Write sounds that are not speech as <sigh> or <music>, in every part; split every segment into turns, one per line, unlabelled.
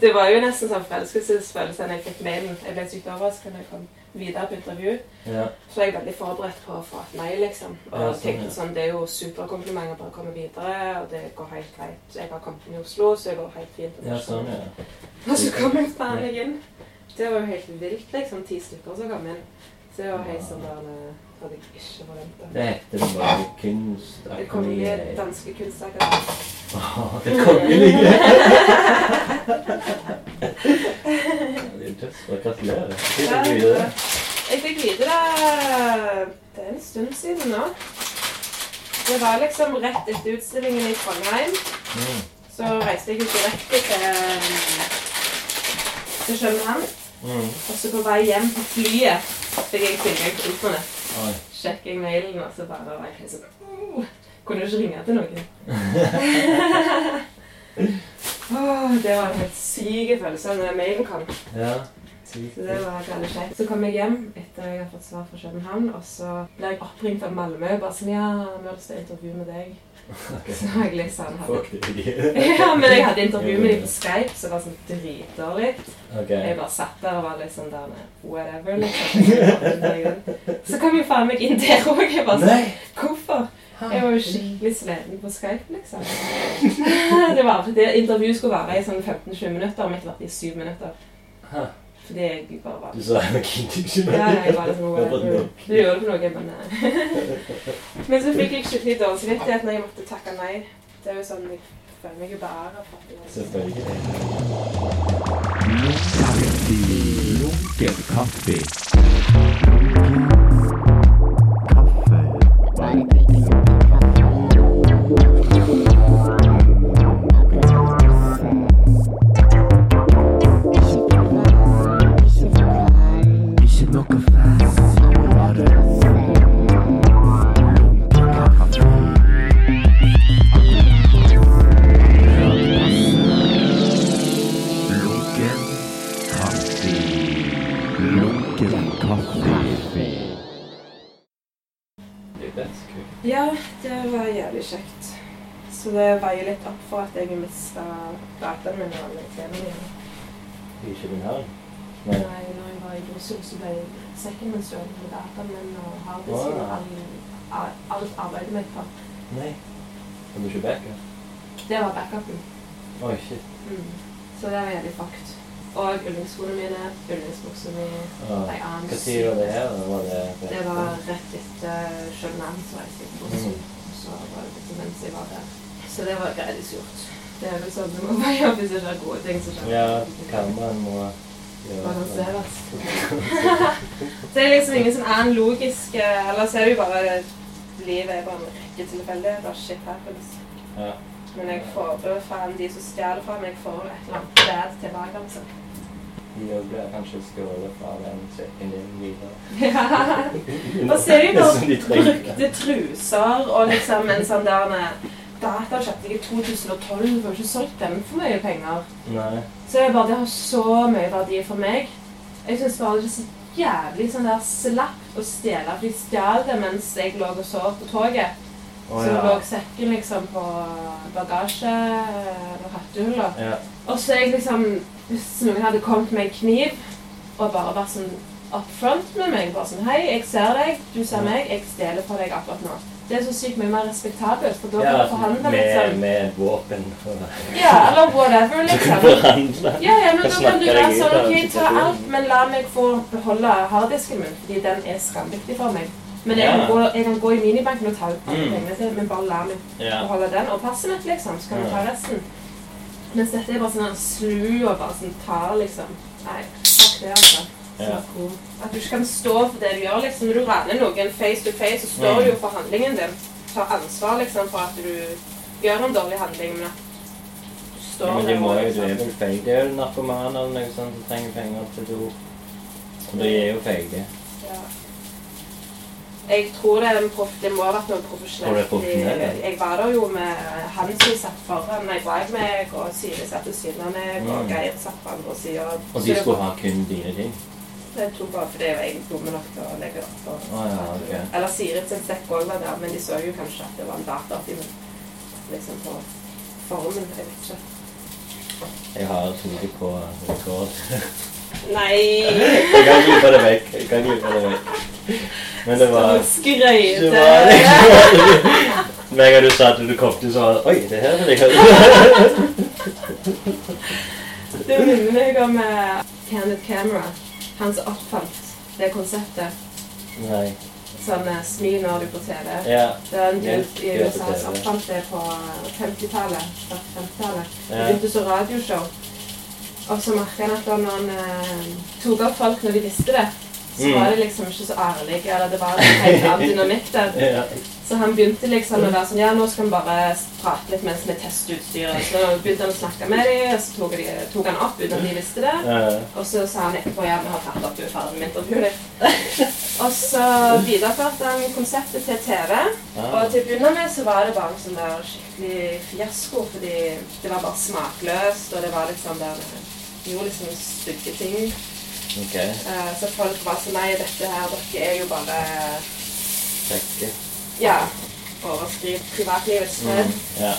Det var jo nesten sånn forelskelsesfølelse da jeg fikk mailen. Jeg ble sykt overrasket når jeg kom videre på intervju.
Ja.
Så var jeg veldig forberedt på å få et nei, liksom. Og
Ja, sånn,
tenkte
ja.
sånn, det er jo superkomplimenter bare å komme videre, og det går helt greit. Jeg har kommet inn i Oslo, så det går helt fint.
ja, sånn, ja.
Og så kom jeg faen meg inn. Det var jo helt vilt, liksom. Ti stykker som kom inn. Så det var helt sånn der eh, hadde jeg ikke forventet.
Det heter bare
Det kom
kunstakademi.
i danske kunstakademi.
Åh, Det kongelige! Det er jo dødsbra. Gratulerer. Fint å vite det.
Jeg fikk vite det Det er en stund siden nå. Det var liksom rett etter utstillingen i Trondheim.
Mm.
Så reiste jeg jo direkte til, til København.
Mm.
Og så på vei hjem på flyet fikk jeg tilgang til internett.
Oi.
Sjekket jeg mailen, og så bare var jeg helt sånn «Åh, Kunne jo ikke ringe til noen. Åh, det var en helt syk følelse da mailen kom.
Ja.
Så det var veldig kjekt. Så kom jeg hjem etter jeg hadde fått svar fra København, og så ble jeg oppringt av Malmö. Bare sånn Ja, vi har lyst til å intervjue med deg. Så var jeg litt sånn hadde...
altså. Fuck det.
Ja, men jeg hadde intervju med dem på Skype, så det var sånn dritdårlig.
Ok.
Jeg bare satt der og var litt sånn der med whatever, liksom. Så kom jo faen meg inn der òg. Jeg bare sånn
Nei!
Hvorfor? Jeg var jo skikkelig sliten på Skype, liksom. <laughs> Det var fordi intervjuet skulle vare i sånn 15-20 minutter, og mitt varte i 7 minutter.
Hæ.
Fordi jeg bare var
Du sa jeg nok ingenting.
Ja, jeg var liksom
Det var
whatever.
nok.
Du gjør det for noe, men eh. Men så fikk jeg skikkelig dårlig samvittighet når jeg måtte takke nei. Det er jo sånn jeg føler meg jo bare fattig.
Selvfølgelig.
Lunken kaffe. Kaffe. Ikke noe fast, bare lunken kaffe. Lunken kaffe. Lunken kaffe.
Det er jo dødskult.
Ja, det var jævlig kjekt. Så det veier litt opp for at jeg mista dataene mine og alle klærne mine.
I København?
Nei,
Nei.
når jeg var i Brussel, så ble sekken min stående med dataene mine og harddisken og all- all- alt arbeidet mitt på.
Nei. Kan du ikke backe?
Det var backupen.
Oi, shit.
Mm. Så det var jævlig fucked. Og yndlingsskoene mine, yndlingsbuksa mi
Ah.
Nei, annen
Hva sier du om det her? da? Var det
Det var rett etter eh, Sjønland, så reiste jeg til
Mm.
Oslo. Så var det litt mens jeg var der. Så det var veldig surt. Det er vel sånn det må være ja, hvis det ikke er gode ting som skjer.
Ja, kameraen må gjøre det.
Balanseres. <laughs> det er liksom ingen sånn annen logisk eh, Eller så er det jo bare Livet er bare en rekke tilfeldigheter. Shit happens.
Ja.
Men jeg får jo faen de som stjeler fra meg, får et eller annet bad tilbake. altså.
De også blir kanskje skålet fra den sekken din videre.
Ja. Og så er det
<laughs>
jo
Som de
bare
trenger.
brukte truser og liksom en sånn der eh, Data kjøpte jeg i 2012, og ikke solgt den for mye penger.
Nei.
Så det er bare det har så mye verdi for meg. Jeg syns bare det er så jævlig sånn der slapt å stjele. For de stjal det mens jeg lå og sov på toget.
Å,
Så lå
ja.
sekken liksom på bagasje eh, og hattehullet.
Ja.
Og så er jeg liksom Hvis noen hadde kommet med en kniv og bare vært sånn up front med meg bare sånn Hei, jeg ser deg, du ser meg, jeg stjeler fra deg akkurat nå. Det er så sykt mye mer respektabelt, for da kan du forhandle,
altså, med,
liksom.
med våpen <laughs> og
Ja, eller whatever, liksom.
forhandle.
Ja, ja, men da
Jeg
kan du
snakker
være
deg ut
sånn
av
OK, ta
situasjonen.
alt, men la meg få beholde harddisken min, fordi den er skamviktig for meg. Men jeg
Ja.
kan, gå, jeg kan gå i minibanken og ta ut alle
Mm.
pengene sine, men bare la meg
Ja.
beholde den og passet mitt, liksom. Så kan du ta
Ja.
resten. Mens dette er bare sånn en slu og bare sånn tar, liksom. Nei, fuck det, altså. Så
Ja.
cool. At du ikke kan stå for det du gjør, liksom. Når du raner noen face to face, så står
Mm.
du jo for handlingen din. Ta ansvar, liksom, for at du gjør en dårlig handling, men at du
Ja,
står liksom
men de må
også,
jo, det er vel feil. Det er jo narkomane eller noe sånt som trenger penger til do. Og de er jo feige.
Ja. Jeg tror det, er en proff, det må ha vært noe
Tror du det
profesjonelt.
er profesjonelt, ja?
Jeg- Jeg var der jo med han som satt foran meg bak meg, og Siri satt ved siden av meg, og
Mm.
Geir satt på andre sida.
Og de skulle ha kun dine ting.
Jeg tok bare fordi jeg var egentlig dumme nok til å legge det opp. og-
Å Ah, ja, ok.
Eller Siri sin sekk også var der, men de så jo kanskje at det var en datatim. Liksom på formen, jeg vet ikke.
Jeg har et hode på rekord. <laughs>
Nei!
Jeg kan klippe det vekk. Jeg kan klippe det vekk. Men det var Det var
Skrøyte.
liksom
<laughs>
Hver gang du sa at du kom til, så var det Oi, det her vil jeg høre.
Det minner meg om eh, Candid Camera. Han som oppfant det konseptet.
Nei.
Sånn eh, smil når du er på TV.
Ja.
Det er en dude i
Ja, det er
USA
det.
som oppfant det på eh, 50-tallet. starten av 50-tallet. Det
Ja.
begynte som radioshow. Og så merket han at da når han eh, tok opp folk når de visste det, så
Mm.
var det liksom ikke så ærlige, eller det var en helt annen dynamikk der.
<laughs> ja.
Så han begynte liksom å være sånn Ja, nå skal vi bare prate litt mens vi tester utstyret. Så begynte han å snakke med dem, og så tok, de, tok han opp uten at de visste det.
Ja.
Og så sa han etterpå ja, vi har tatt opp uferdig med intervjuet
<laughs>
ditt. og så videreførte han konseptet til TV. Og
Ah.
til å begynne med så var det bare en sånn der skikkelig fiasko, fordi det var bare smakløst, og det var litt sånn der de gjorde liksom stygge ting.
OK.
Eh, Så folk var sånn Nei, dette her, dere er jo bare
Takk.
Ja. Overskriv privatlivets fred.
Mm. Ja.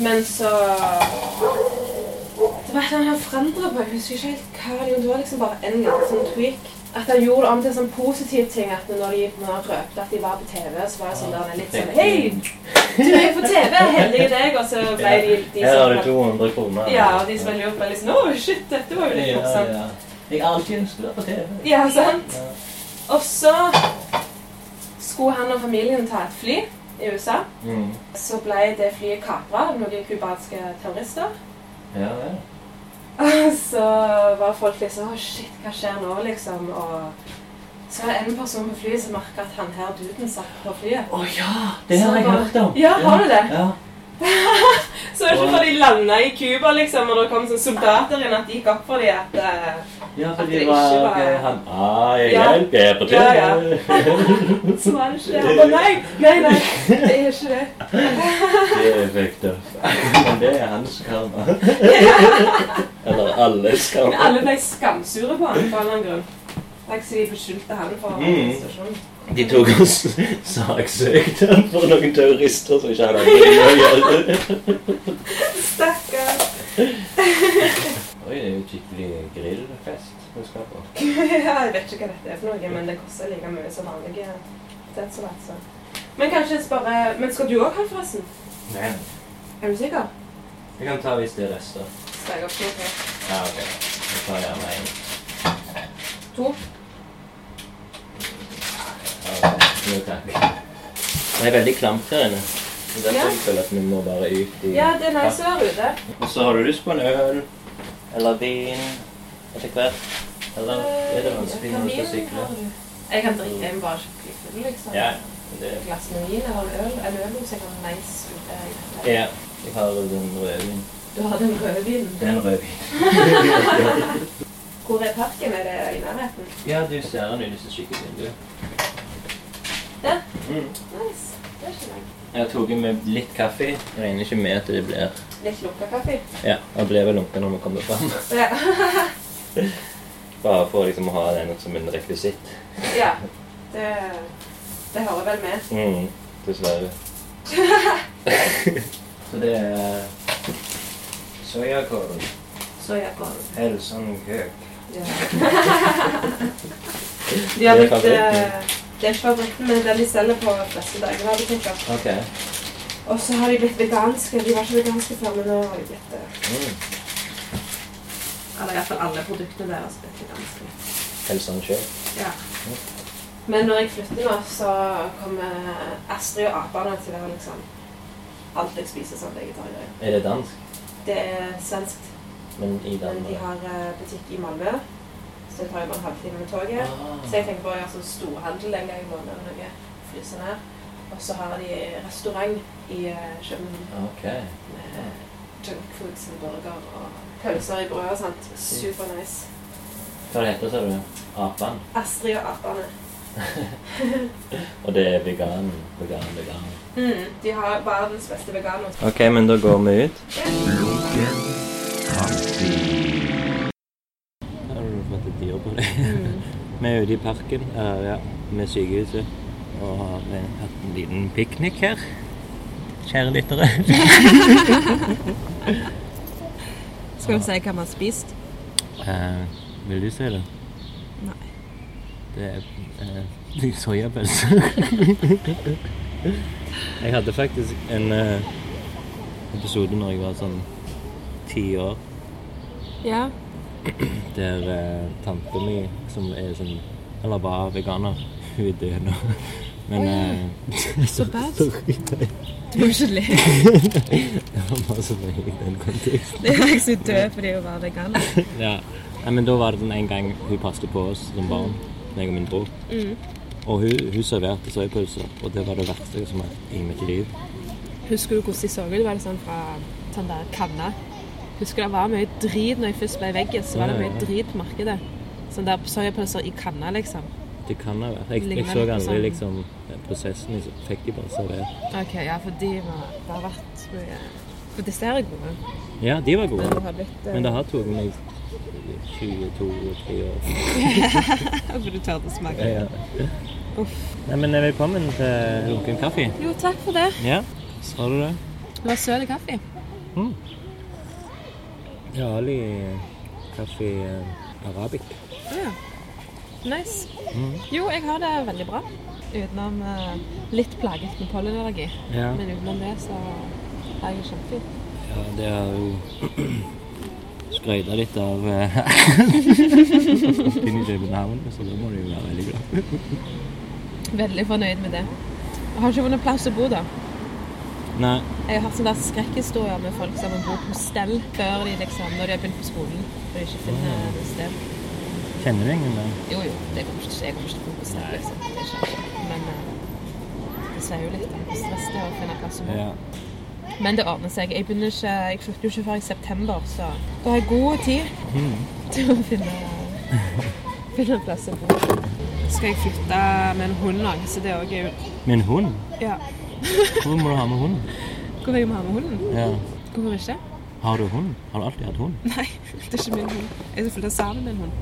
Men så Det var et eller annet han forandra på. Jeg husker ikke helt hva det var. Det var liksom bare en liten sånn tweak. At han gjorde det om til en sånn positiv ting. At når de når han røpte at de var på TV, så var det sånn der litt sånn Hei, du er på TV! Heldige deg! Og så ble de de
Her har du
som
200 kroner.
Ja, og de som ble lurt, ble liksom Å, shit, dette var jo litt morsomt.
Jeg har alltid ønsket å være på TV.
Ja, sant?
Ja.
Og så skulle han og familien ta et fly i USA.
Mm.
Så ble det flyet kapra av noen cubanske terrorister.
Ja, vel.
Så var folk liksom Å, shit, hva skjer nå, liksom? Og så var det en person på flyet som merka at han her duden satt på flyet.
Å ja! Det her har jeg hørt om.
Ja, har du det?
Ja.
Så det var ikke før de landa i Cuba, liksom, og det kom sånn soldater inn at det gikk opp for dem at eh,
Ja,
At
for
det
de
ikke
var
var-
ok, han Ah, jeg
Ja.
hjelper, jeg er på TV.
Ja, ja. Så var det ikke det. Han bare nei, nei, nei, det er ikke det.
Det er fucked up. Men det er hans karma. Eller alles
Men
karma.
alle ble skamsure på han på en eller annen grunn. Liksom de beskyldte han for
Mm.
arrestasjon.
De tok og s- saksøkte han for noen terrorister som ikke hadde noe å gjøre.
Stakkar. <laughs>
Oi, det er jo skikkelig grillfest vi skal på.
Ja, jeg vet ikke hva dette er for noe, men det koster like mye som vanlige potetsalat. så. Men kanskje jeg bare Men skal du òg ha, forresten?
Nei,
Er du sikker?
jeg kan ta hvis det er rester.
Skal jeg opp to til?
Ja, ok. Jeg tar gjerne en.
To?
Ja, ok. Jo, takk. Det er veldig klamt her inne. Det
Ja.
er derfor jeg føler at vi må bare ut i
Ja, det er nice å være ute.
Og så har du lyst på en øl eller vin etter hvert. Eller
Eh,
er det vanskelig når du skal sykle?
Jeg kan drikke en bare skikkelig full, liksom.
Ja. Det.
Et glass med vin eller en øl. En øl så jeg kan nice ute. i-
ja. Jeg har den rødvin.
Du har den røde vinen.
Den rødvin.
Hvor er parken? Er det i nærheten?
Ja, du ser den ut som skikkelig vindu.
Der.
Mm.
Nice. Det er ikke langt.
Jeg har tatt med litt kaffe. Jeg regner ikke med at det blir
Litt lukka kaffe.
Ja, jeg ble vel lunken når vi kommer fram.
Ja.
Bare for liksom å ha den som en rekvisitt.
<laughs> ja. Det, det hører vel med.
Mm. Dessverre. <laughs> Så det er soyakorn.
Så jeg går.
Helsan Køk. <laughs>
Ja. De har
Det er
blitt eh, Det er
favoritten.
ikke favoritten, men den de selger på fleste dagligvarebutikker.
Ok.
Og så har de blitt veganske. De var ikke veganske før, men nå har de blitt det.
Mm.
Eller iallfall alle produktene deres er blitt veganske.
Helsan Køk.
Ja. Men når jeg flytter nå, så kommer Astrid og apene til å være liksom Alt jeg spiser som vegetarier.
Er det dansk?
Det er svenskt,
Men i
men de
Danmark?
har eh, butikk i Malmö. Så det tar jo bare en halvtime med toget.
Ah,
Så jeg tenker bare å gjøre sånn storhandel en gang i måneden eller noe. Fryse ned. Og så har de restaurant i eh, København
Ah, Ok.
med junkfood som burger og pølser i brød og sånt. Super nice.
Hva det heter det, du? Apan?
Astrid og apene.
Og det er vegan, vegan, vegan.
Mm, de har verdens beste veganer.
Ok, men da går vi ut.
Lunken kaffe.
Har du fått et dyr på deg?
Mm.
<laughs> vi er ute i parken, eh, ja, med sykehuset, og har eh, hatt en liten piknik her.
<laughs>
Kjære lyttere.
Skal vi si hva vi har spist?
Eh, vil du si det?
Nei.
Det er eh, soyapølse. jeg hadde faktisk en eh, episode når jeg var sånn ti år,
Ja.
der eh, tante mi, som er sånn Eller var veganer. <laughs> Hun er død nå. Men eh, <laughs>
Så bad.
Sorry. nei.
Du må ikke le.
eh, <laughs> Det var bare så lenge i den konteksten.
Det er jeg så død fordi hun var veganer.
Ja. Nei, men da var det sånn en gang hun passet på oss som barn, meg og min bror. Og hun, hun serverte soyapølser, og det var det verste som har vært i mitt liv.
Husker du hvordan de så ut? Var det sånn fra sånn der kanne? Husker det var mye drit når jeg først ble i veggen, så var det
Ja, ja,
mye
ja.
drit på markedet. Sånn der soyapølser i kanne, liksom.
Det kan ha vært. Jeg, jeg
Ligner
så
litt på
aldri
sånn-
liksom eh, prosessen. Jeg fikk de bare servert.
Ok, ja, for de må det har vært mye For dessert er gode,
Ja, de var
men det
gode.
har blitt eh,
Men det har tatt meg 22-23 år.
<laughs> For du tør å smake.
Ja. Nei, men eh, velkommen til Lunken kaffe.
Jo, takk for det.
Ja, sa du det?
Det var søt kaffe.
Ja, Ali kaffe eh, arabic.
Nice.
Mm.
Jo, jeg har det veldig bra. Utenom eh, litt plaget med pollenallergi.
Ja.
Men utenom det så har jeg det kjempefint.
ja det har jo <clears throat> skrøyta litt av <laughs> eh, Inn i København, så da må du jo være veldig glad.
Veldig fornøyd med det. Jeg har ikke funnet plass å bo, da.
Nei.
Jeg har hørt sånne der skrekkhistorier med folk som bor på hostell før de liksom, når de har begynt på skolen. Og de ikke finner
Mm.
noe sted.
Kjenner du ingen der?
Jo, jo, det kommer ikke, jeg kommer ikke til å bo på hostell, liksom. Det skjer. Men eh, det sier jo litt om hvor stress det er å finne plass å bo.
Ja.
Men det ordner seg. Jeg begynner ikke, jeg flytter jo ikke før i september, så da har jeg god tid
Mhm.
til å finne, finne en plass å bo. Skal jeg flytte med en hund òg, så det òg er jo
Med en hund?
Ja.
Hvorfor må du ha med hund?
Hvorfor jeg må ha med hunden?
Ja.
Hvorfor ikke? <laughs>
Har du hund? Har du alltid hatt hund?
Nei, det er ikke min hund. Jeg skal flytte sammen med en hund.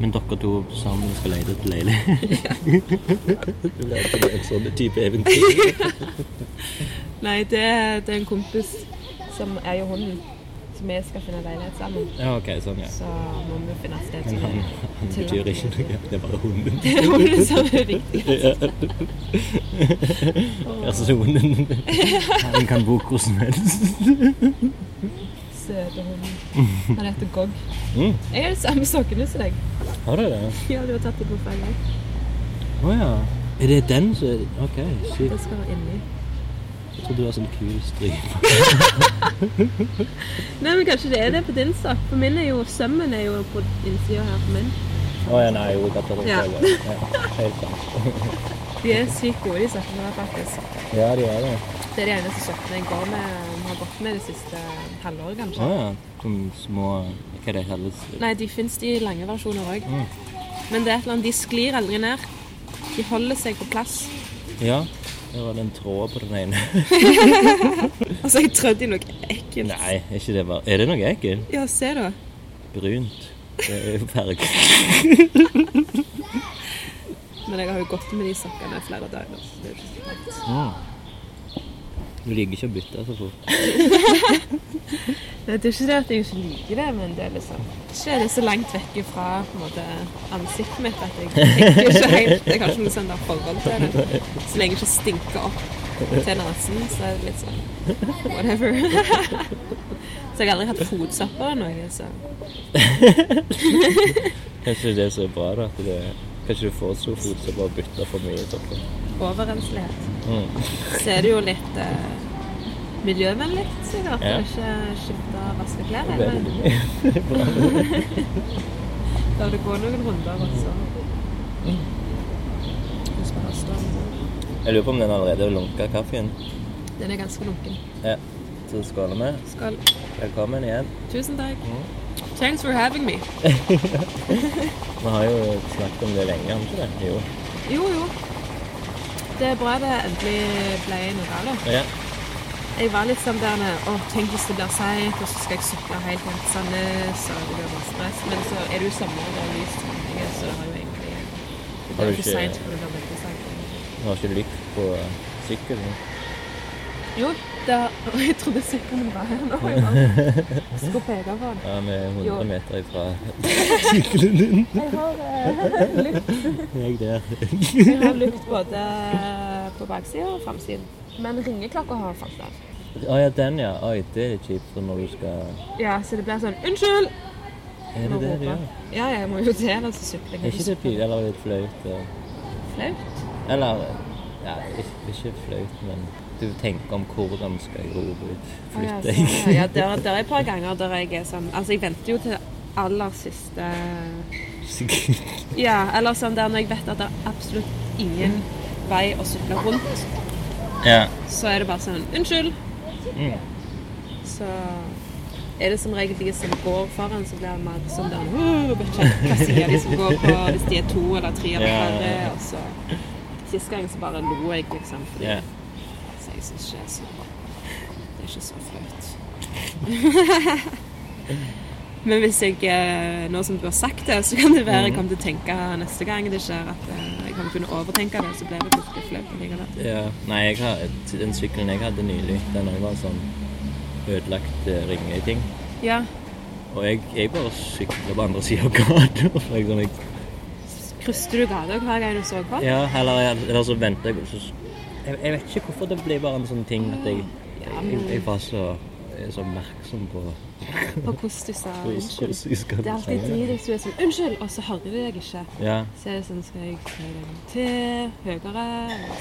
Men dere to sammen skal lete etter leilighet? det blir alltid en sånn type eventyr.
Nei, det, det er en kompis som eier hunden. Så vi skal finne leilighet sammen.
Ja, ok, sånn, ja.
Så må vi finne et sted
Men
som
<laughs> han,
er
han betyr ikke noe. Det er bare hunden.
<laughs> Det er hunden som er viktig.
Altså, hunden Han kan bo hvor som helst.
Søte hunden. Han heter Gogg.
Mm.
Jeg har de samme sokkene som deg.
Har du det?
Ja, du har tatt det på feil vei.
Å ja. Er det den som er OK, sykt.
Det skal være inni.
Jeg trodde du var sånn kul stripe.
Nei, men kanskje det er det på din sokk. For min er jo sømmen er jo på innsida her på min.
Å ja, nei, jo, dette er
Ja.
det. Ja, helt sant.
De er sykt gode, de sokkene her, faktisk.
Ja, de er det.
Det er de eneste sokkene jeg går med, eh, har gått med det siste eh, halvåret, kanskje.
Å ja. Sånne små Hva er det kalles?
Nei, de fins de lange versjoner òg.
Mm.
Men det er et eller annet, de sklir aldri ned. De holder seg på plass.
Ja, det var den tråden på den ene.
Altså, jeg trødde i noe ekkelt.
Nei, er ikke det bare Er det noe ekkelt?
Ja, se da.
Brunt. Det er jo farge.
Men jeg har jo gått med de sokkene i flere dager. så det er jo ikke så lett.
Mm. Du liker ikke å bytte så fort.
Nei, Det er ikke det at jeg ikke liker det, men det er liksom ikke det er så langt vekk fra på en måte, ansiktet mitt at jeg tenker ikke helt Jeg har ikke noe sånn der forhold til det. Så lenge jeg ikke stinker opp til nesen, så er det litt sånn whatever. Så jeg har aldri hatt fotsopper eller noe. så...
Kanskje det er så bra, da. At det, kanskje du får så fort som bare bytter for mye topper.
overenslighet.
Mm.
Så er det jo litt eh, miljøvennlig, sikkert. At
Ja.
du ikke skifter og vasker klær.
Det er
eller?
veldig bra.
La det gå noen runder, og så
Mm.
Hvis man har stående.
Jeg lurer på om den allerede har lunka kaffen.
Den er ganske lunken.
Ja. Så skåler vi.
Skål.
Velkommen igjen.
Tusen takk.
Mm.
Thanks for having me.
Vi har jo snakket om det lenge, har vi ikke det? Jo.
Jo, jo. Det er bra det endelig ble noe av det.
Ja.
Jeg var litt sånn der nede, Åh, tenk hvis det blir seigt, og så skal jeg sykle helt hjem til Sandnes, og det blir bare stress. Men så er det jo sommer, og det er lyst, og det er- så det har jo egentlig Det
Har
blir
du
jo ikke
ikke- eh,
seint, for det blir veldig seint.
Vi har ikke lykt på sykkelen.
Jo, det har <laughs> Oi, Jeg trodde sykkelen var her nå. Jeg bare
<laughs>
skulle peke på den.
Ja, vi er
Jo.
100 meter
<laughs>
ifra <laughs> sykkelen din.
Jeg har eh, lykt.
Jeg der.
Jeg har lykt både på baksida og framsiden. Men ringeklokka har jeg falt av.
Å Ah, ja, den ja. Oi, det er kjipt for når du skal
Ja, så det blir sånn Unnskyld!
Er det
Må
det du
rope.
gjør?
Ja, jeg må jo det. Altså, sykling
Er ikke det pinlig eller litt flaut? og-
flaut?
Eller ja, ikke, ikke flaut, men du tenker om hvordan skal jeg rope ut. Flytt
Ja,
<laughs> deg.
så- Ja, der, der er et par ganger der jeg er sånn Altså, jeg venter jo til aller siste
Sikkert.
Ja, eller sånn der når jeg vet at det er absolutt ingen vei å sykle rundt,
Ja.
så er det bare sånn Unnskyld!
Mm.
Så er det som regel de som går foran, som blir det mer sånn der «Åh, vet ikke Hva sier de som går på hvis de er to eller tre eller
Ja, ja,
færre?
ja.
Og så Sist gang så bare lo jeg, liksom. Fordi,
Ja.
Så jeg syns ikke det er så Det er ikke så flaut. <laughs> Men hvis jeg, eh, nå som du har sagt det, så kan det være
Mm.
jeg kommer til å tenke neste gang det skjer at eh, jeg kommer til å kunne overtenke det, så blir det plutselig flaut likevel.
ja. Nei, jeg har, den sykkelen jeg hadde nylig, den også var sånn ødelagt eh, ringeting.
Ja,
Og jeg, jeg bare sykler på andre sida av gata. <laughs> for jeg sånn, jeg-
Kryster du gata hver gang du så på?
Ja, eller, eller så venter jeg, og så s- jeg Jeg vet ikke hvorfor det blir bare en sånn ting at jeg Jeg, jeg var så, jeg er så oppmerksom på
På hvordan du sa unnskyld?
hvordan jeg skal
Det er alltid
si
de deg som er sånn 'unnskyld', og så hører de deg ikke.
Ja.
Så er det sånn Skal jeg si det en gang til? Høyere? Eller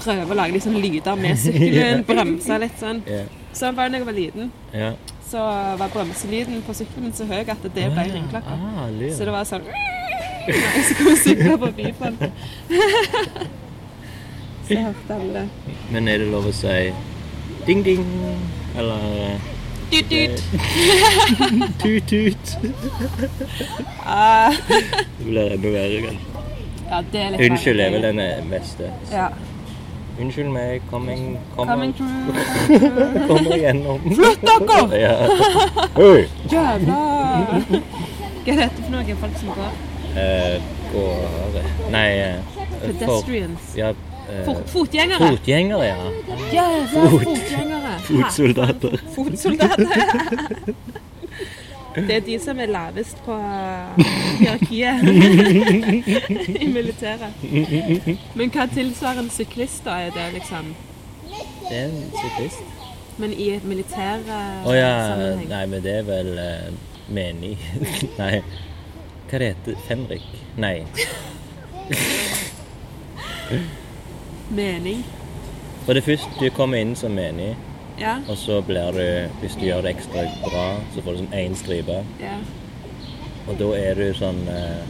skal jeg prøve å lage liksom lyder med
<laughs>
sykkelen? Bremse litt sånn.
Ja.
Sånn var det da jeg var liten.
ja.
Så var bremselyden på sykkelen så høy at det ble ringeklokka.
Ah, lyd.
Så det var sånn <laughs> Nei, så kom sykla forbi folk. <laughs> Så jeg hørte alle det.
Men er det lov å si ding-ding? Eller eh,
Dytt-dytt.
tut-tut?
Ah,
Det blir enda verre. kanskje.
Ja, det er litt
Unnskyld er vel
verre.
den beste.
Ja.
Unnskyld meg, coming,
Coming
coming,
through. <laughs>
kommer igjennom.
Flytt dere! <laughs>
Ja. Hei!
Jævla Hva er dette for noe? Folk som går?
Eh, Gårdere Nei eh, for-
Pedestrians.
Ja. eh,
Fot, fotgjengere!
Fotgjengere, ja.
Jævla fotgjengere!
Fotsoldater.
Fotsoldater! Det er de som er lavest på eh, hierarkiet <laughs> i militæret. Men hva tilsvarer en syklist, da? Er det liksom
Det er en syklist.
Men i et militær eh,
Å ja.
sammenheng?
Nei, men det er vel eh, menig. <laughs> nei. Hva det heter det? Fenrik? Nei.
Mening?
For det første, du kommer inn som menig,
Ja.
og så blir du Hvis du gjør det ekstra bra, så får du sånn én stripe,
ja.
og da er du sånn eh,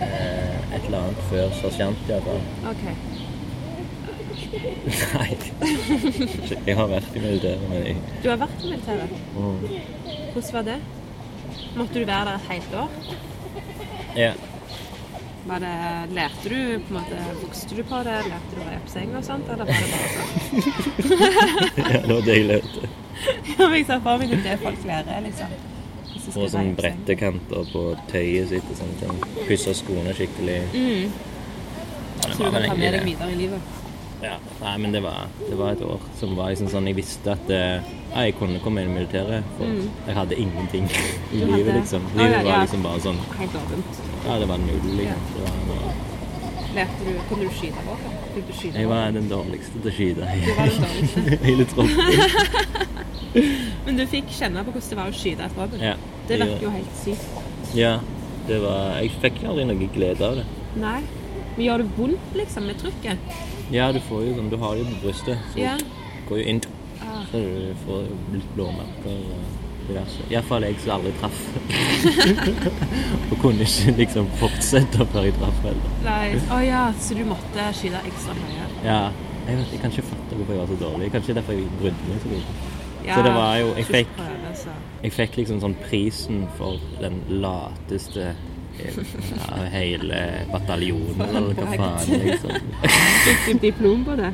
eh, Et eller annet før sersjant, iallfall.
OK.
<laughs> Nei. Jeg har vært i militæret, men jeg
Du har vært i militæret.
mm.
Hvordan var det? Måtte du være der et helt år?
Ja.
Var det, lærte du på en måte, Vokste du på det? Lærte du å være på seng og sånt? Eller var det bare sånn?
ja, det var det jeg lærte.
Ja, men jeg ser for meg at det er folk lærer, liksom. Hvis de skal
Og sånn
være på seng.
brettekanter på tøyet sitt og sånne ting. Pussa skoene skikkelig. Mm. Ja, det
Så du
var
kan ta
vel egentlig
med deg
det.
videre i livet.
Ja, nei, men det var, det var et år som var liksom sånn Jeg visste at eh, ja, jeg kunne komme inn i militæret, for jeg hadde ingenting
Mm.
<laughs> i
Du hadde-
livet, liksom.
Å, ja,
Livet var
ja.
liksom bare sånn
Helt åpent.
Ja, det var null, liksom. Det var noe.
Lærte du, Kunne du skyte våpen? Fikk du skyte
Jeg
våpen?
var den dårligste til å skyte
Du var den dårligste.
i <laughs> hele troppen.
Men du fikk kjenne på hvordan det var å skyte et våpen.
Ja,
Det
jeg
virker
gjorde-
jo helt sykt.
Ja. Det var Jeg fikk aldri noe glede av det.
Nei. Men gjør det vondt, liksom, med trykket?
Ja, du får jo sånn Du har det jo på brystet, så
Ja.
går jo inn
Ah.
Så du får jo litt blåmerker og diverse. Iallfall jeg som aldri traff.
<laughs>
<laughs> og kunne ikke liksom fortsette før jeg traff heller.
Nei. Å ja, så du måtte skyte ekstra høyere?
Ja. Jeg vet, jeg kan ikke fatte hvorfor jeg var så dårlig. Kanskje derfor jeg brydde meg så mye.
Ja,
Så det var jo- jeg
skulle
fikk-
prøve, så.
Jeg fikk liksom sånn prisen for den lateste eh,
<laughs>
av hele bataljonen, eller hva faen, liksom. <laughs>
Fikk du diplom på det?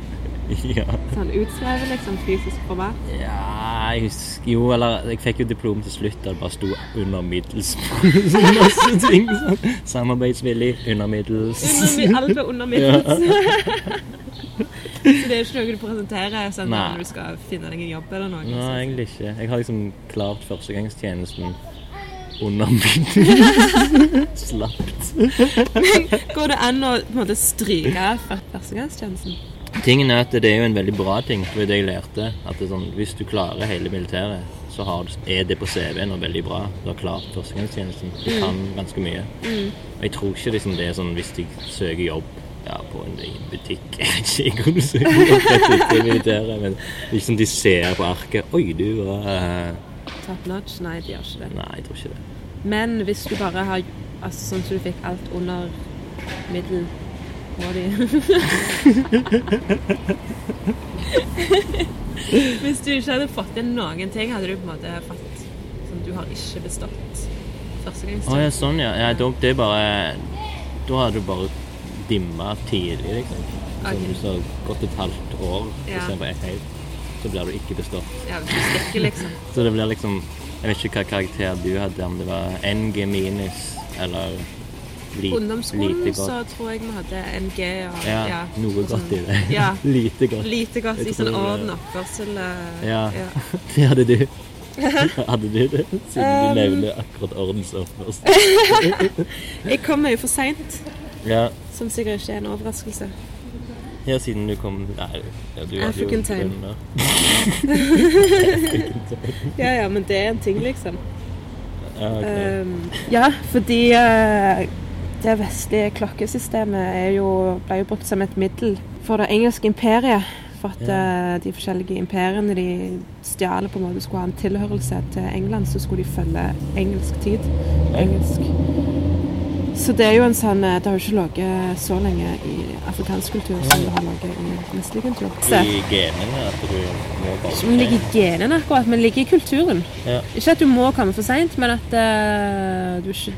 ja.
Sånn utskrevet, liksom, fysisk format?
Ja, jeg husker jo Eller jeg fikk jo diplom til slutt da det bare sto 'under middels' <laughs> på masse ting. sånn. <laughs> Samarbeidsvillig, under middels.
Under, mi- alt var under middels. <laughs> Så det er ikke noe du presenterer sånn,
Nei.
når du skal finne deg en jobb eller noe.
Nei,
sånn.
egentlig ikke. Jeg har liksom klart førstegangstjenesten under middag. <laughs> Slapt.
Går det an å på en måte, stryke før- førstegangstjenesten?
Tingen er at det er jo en veldig bra ting, for det jeg lærte, at det er sånn, hvis du klarer hele militæret, så har, du- er det på CV-en og veldig bra. Du har klart førstegangstjenesten. Du kan ganske mye. Og jeg tror ikke liksom, det er sånn hvis jeg søker jobb ja, på en i en butikk <laughs> Jeg vet ikke om du søker jobb på et butikk i militæret, men liksom de ser på arket Oi, du var eh,
Top notch? Nei, de gjør ikke det.
Nei, jeg tror ikke det.
Men hvis du bare har altså, Sånn som du fikk alt under middel må de. <laughs> Hvis du ikke hadde fått til noen ting, hadde du på en måte fått sånn, Du har ikke bestått
Å ja,
førstegangstjenesten.
sånn ja. ja da, det er bare Da hadde du bare dimma tidlig, liksom. Så
Ok.
Hvis det har gått et halvt år
Ja.
istedenfor ett helt, så blir du ikke bestått.
Ja, du stikker, liksom.
Så det blir liksom Jeg vet ikke hva karakter du hadde, om det var NG minus eller li,
På ungdomsskolen
lite
så
godt.
tror jeg vi hadde NG og
Ja, noe
og
godt i
sånn.
det.
Ja.
<laughs> lite godt.
Lite godt
Jeg
i
tror
sånn
det-
orden og oppførsel. eh,
Ja. <laughs> Det
<laughs>
hadde du. Hadde du det? Siden
Um.
du nevner akkurat ordensord først.
<laughs> Jeg kommer jo for seint,
Ja.
som sikkert ikke er en overraskelse.
ja, siden du kom Nei, ja, du hadde jo
African time.
grunner.
Ja, ja, men det er en ting, liksom.
Ja, ok.
Ehm, ja, fordi eh, det vestlige klokkesystemet er jo, ble jo brukt som et middel for det engelske imperiet. For at
Ja.
eh, de forskjellige imperiene de stjal, på en måte skulle ha en tilhørelse til England, så skulle de følge engelsk tid. Engelsk. Så det er jo en sånn eh, Det har jo ikke ligget så lenge i afrikansk kultur som det har ligget i vestlig kultur. Så,
I genene at du må bare
som ligger i genene akkurat, men ligger i kulturen.
Ja.
Ikke at du må komme for seint, men at eh, du ikke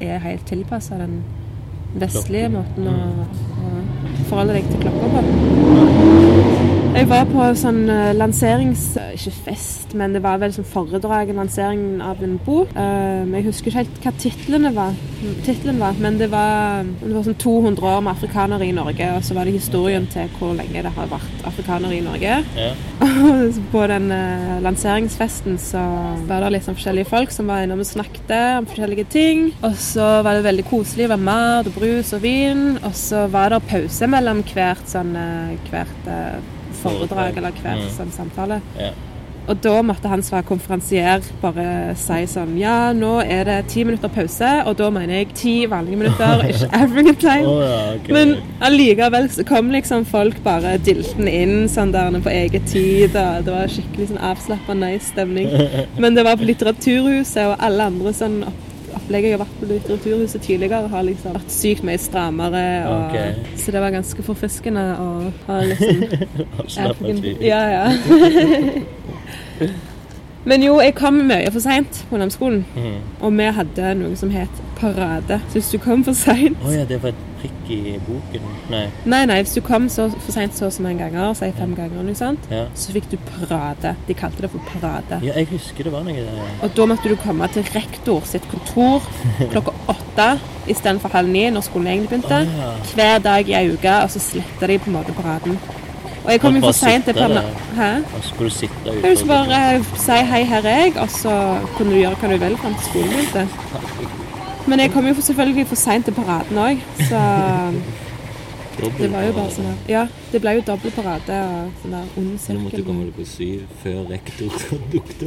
er helt tilpassa den vestlige måten å, å forholde deg til klokka på. Jeg var på sånn eh, lanserings... Ikke fest, men det var vel sånn foredrag, lanseringen av en bok. Eh, men jeg husker ikke helt hva titlene var, titlen var, men det var, det var sånn 200 år med afrikanere i Norge, og så var det historien til hvor lenge det har vært afrikanere i Norge.
Ja.
Og <laughs> på den eh, lanseringsfesten så var det liksom forskjellige folk som var innom og snakket om forskjellige ting. Og så var det veldig koselig. Det var mat og brus og vin. Og så var det pause mellom hvert sånn eh, hvert eh, foredrag eller hver
Mm.
sånn samtale.
Ja.
Og da måtte han som var konferansier bare si sånn Ja, nå er det ti minutter pause, og da mener jeg ti vanlige minutter,
<laughs>
ikke African time.
Å, ja, ok.
Men allikevel så kom liksom folk bare diltende inn sånn der på eget tid, og det var skikkelig sånn avslappa, nice
<laughs>
stemning. Men det var på Litteraturhuset, og alle andre sånn opp opplegg jeg har vært på Litteraturhuset tidligere, har liksom vært sykt mye strammere, og
Ok.
så det var ganske forfriskende å ha liksom
<laughs> Slapp av,
African-
fy.
Ja, ja.
<laughs>
Men jo, jeg kom mye for seint på ungdomsskolen,
Mhm.
og vi hadde noe som het parade. Så hvis du kom for seint
Å ja, det var et prikk i boken. Nei.
Nei, nei, hvis du kom så, for seint så og så mange ganger, si fem ganger, eller noe sånt,
Ja.
så fikk du parade. De kalte det for parade.
ja, jeg husker det var noe der.
Og da måtte du komme til rektor sitt kontor klokka åtte istedenfor halv ni, når skolen egentlig begynte.
ja.
Hver dag i ei uke, og så sletta de på en måte paraden. Og jeg kom
Og
jo
bare
for seint til
sitte
parna...
der.
Hæ?
Og så skulle du sitte ute
Jeg ville bare eh, si hei, her er jeg, og så kunne du gjøre hva du vil fram til skolen begynte. Men jeg kom jo for- selvfølgelig for seint til paraden òg, så Det var jo bare sånn her. Ja, det ble jo dobbel parade og sånn der ond
Du måtte
sirkel.
komme deg på syv før rektor <laughs> dukket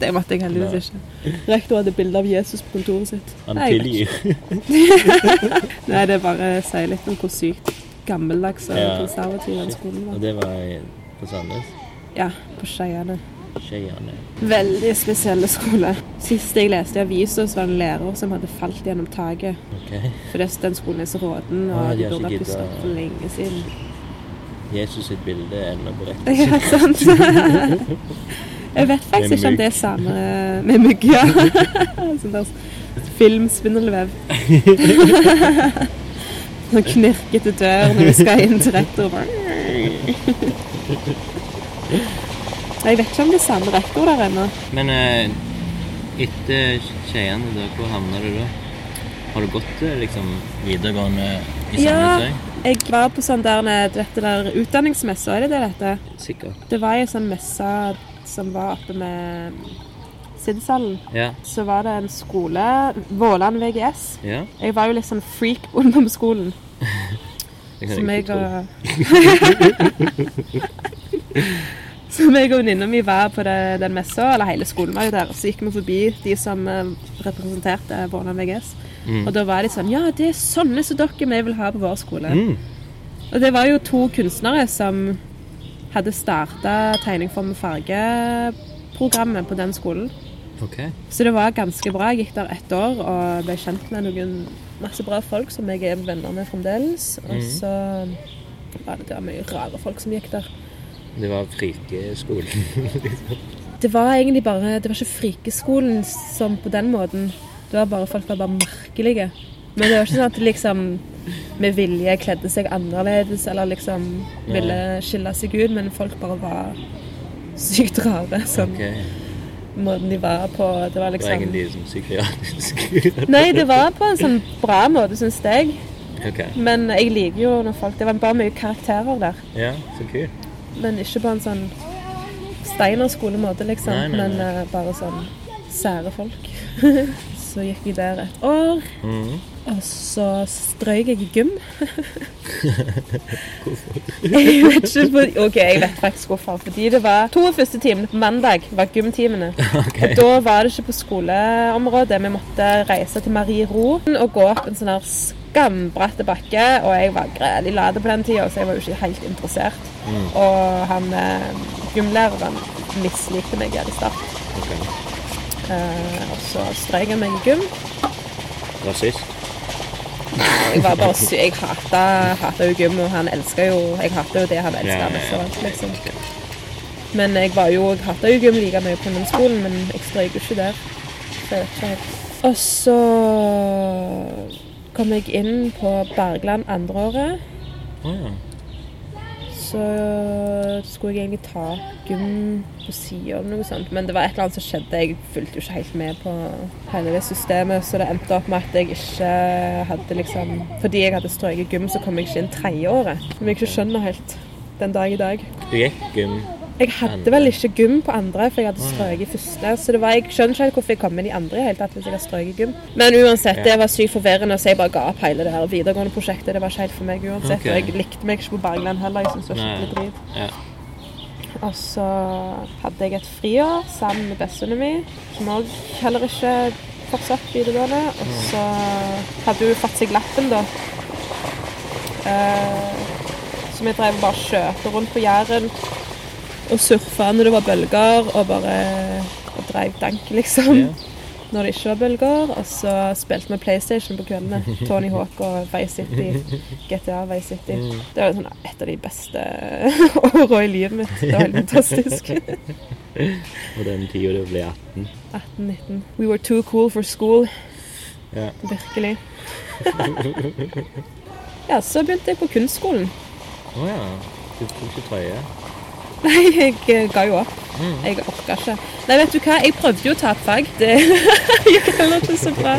<laughs> det måtte jeg heldigvis ikke. Rektor hadde bilde av Jesus på kontoret sitt.
Han
Nei, jeg vet
tilgir.
ikke. Nei, det bare sier litt om hvor sykt gammeldags og
Ja.
konservativ den skolen
Og
var.
det var i- på Sandnes.
Ja, på Skeiane.
Skeiane.
Veldig spesielle skole. Sist jeg leste i avisa, så var det en lærer som hadde falt gjennom taket.
Ok.
For det- den skolen er så råden,
Ah,
og
de
de
har
burde ha
ikke
pustet opp
giddet.
for lenge siden.
Jesus sitt bilde ender på rektor.
Ja, <laughs> sant. Jeg vet faktisk
Med
ikke om det er
mygg.
samme med mygg, ja. <laughs> Sånn der <laughs> filmspindelvev. Sånn knirkete dør når du skal inn til rektor. bare. Nei, Jeg vet ikke om det er samme rektor der ennå.
Men eh, etter Skeiane, da, hvor havna du da? Har du gått eh, liksom videregående i Sandnes
Ja,
òg?
Jeg var på sånn der, du vet, det der utdanningsmesse, er det det det heter?
Sikkert.
Det var ei sånn messe som var oppe med Siddishallen.
Ja.
Så var det en skole, Våland VGS.
ja.
Jeg var jo litt sånn freak på ungdomsskolen.
Det kan
Som
jeg
jeg
ikke tro.
og <laughs> Som jeg og venninna mi var på det, den messa, eller hele skolen var jo der. Så gikk vi forbi de som eh, representerte Våland VGS.
Mm.
Og da var de sånn Ja, det er sånne som dere vi vil ha på vår skole.
Mm.
Og det var jo to kunstnere som hadde starta tegning for med farge-programmet på den skolen.
OK.
Så det var ganske bra. Jeg gikk der ett år og ble kjent med noen masse bra folk som jeg er venner med fremdeles. Og så var det der mye rare folk som gikk der.
Det var
<laughs>
frikeskolen.
Det var egentlig bare Det var ikke frikeskolen som på den måten. Det var bare folk var bare merkelige. Men det var ikke sånn at de liksom med vilje kledde seg annerledes eller liksom ville skille seg ut, men folk bare var sykt rare. Sånn
OK. Det
måten de var på. Det var
var
liksom
egentlig sånn psykiatrisk. <laughs>
Nei, det var på en sånn bra måte, syns jeg.
OK.
Men jeg liker jo når folk Det var bare mye karakterer der.
Ja, så kult.
Men ikke på en sånn Steinerskolemåte, liksom.
Nei, nei, nei.
Men eh, bare sånn sære folk. <laughs> så gikk jeg der et år,
Mhm.
og så strøyk jeg i
<laughs>
gym. <laughs> jeg vet ikke hvor, Ok, jeg vet faktisk hvorfor. Fordi det var to av første timene på mandag var gymtimene.
<laughs> OK.
Og da var det ikke på skoleområdet. Vi måtte reise til Marie Ro og gå opp en sånn her skambratt bakke. Og jeg var grælig lade på den tida, så jeg var jo ikke helt interessert.
Mm.
Og han eh, gymlæreren mislikte meg i start.
Ok.
Eh, og så strøk han meg i gym.
Rasist.
Jeg var bare sy Jeg hata, hata jo gym, og han elska jo Jeg hata jo det han elska
Ja, ja,
mest
ja.
av alt, liksom.
Ok.
Men jeg var jo, jeg hata jo gym like mye på ungdomsskolen, men jeg strøk jo ikke der. Så jeg vet ikke helt. Og så kom jeg inn på Bergland andre året.
Å ja.
Så skulle jeg egentlig ta gym på sida eller noe sånt, men det var et eller annet som skjedde. Jeg fulgte jo ikke helt med på hele det systemet, så det endte opp med at jeg ikke hadde liksom Fordi jeg hadde strøket gym, så kom jeg ikke inn tredjeåret. Som jeg ikke skjønner helt den dag i dag.
Du gikk um, gym.
Jeg hadde vel ikke gym på andre, for jeg hadde strøket i første. Så det var, jeg skjønner ikke helt hvorfor jeg kom med de andre i hele tatt hvis jeg har strøket i gym. Men uansett,
Ja.
det var sykt forvirrende, så jeg bare ga opp hele det her videregående prosjektet. Det var ikke helt for meg uansett.
Ok.
Og jeg likte meg ikke på Bergland heller. Jeg syntes det var skikkelig
Nei.
drit.
Ja.
Og så hadde jeg et friår sammen med bestevennen min, som òg heller ikke fortsatte videregående. Og så hadde hun fått seg lappen, da. Eh, så vi drev og bare skjøter rundt på Jæren og surfa når det var bølger, og bare og drev dank, liksom.
Ja.
Når det ikke var bølger. Og så spilte vi PlayStation på kveldene. Tony Hawk og Vice City. GTA Vice City.
Mm.
Det var sånn et av de beste <laughs> åra i livet mitt. Det var helt
<laughs>
fantastisk.
Og den tida du ble 18.
18-19. We were too cool for school.
Ja.
Virkelig. Ja, så begynte jeg på kunstskolen.
<laughs> Å ja. Du tok ikke trøye.
Nei, jeg eh, ga jo opp.
Mm.
Jeg orka ikke. Nei, vet du hva, jeg prøvde jo å ta opp fag. Det <laughs> gikk heller ikke så bra.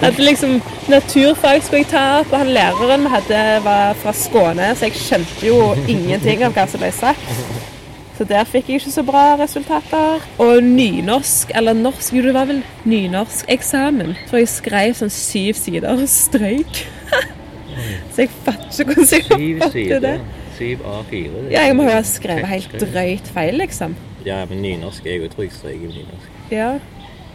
At liksom, Naturfag skulle jeg ta opp, og han læreren vi hadde, var fra Skåne, så jeg skjønte jo ingenting av hva som ble sagt. Så der fikk jeg ikke så bra resultater. Og nynorsk, eller norsk Jo, det var vel nynorskeksamen. For jeg skrev sånn syv sider og strøyk. <laughs> Så jeg fatter ikke hvordan jeg
Syv
har fått til det.
sider. Syv A4. det er
Ja, jeg må jo ha
kjekt
skrevet helt
skriv.
drøyt feil, liksom.
Ja, men nynorsk er jo tror jeg strøk i nynorsk.
Ja.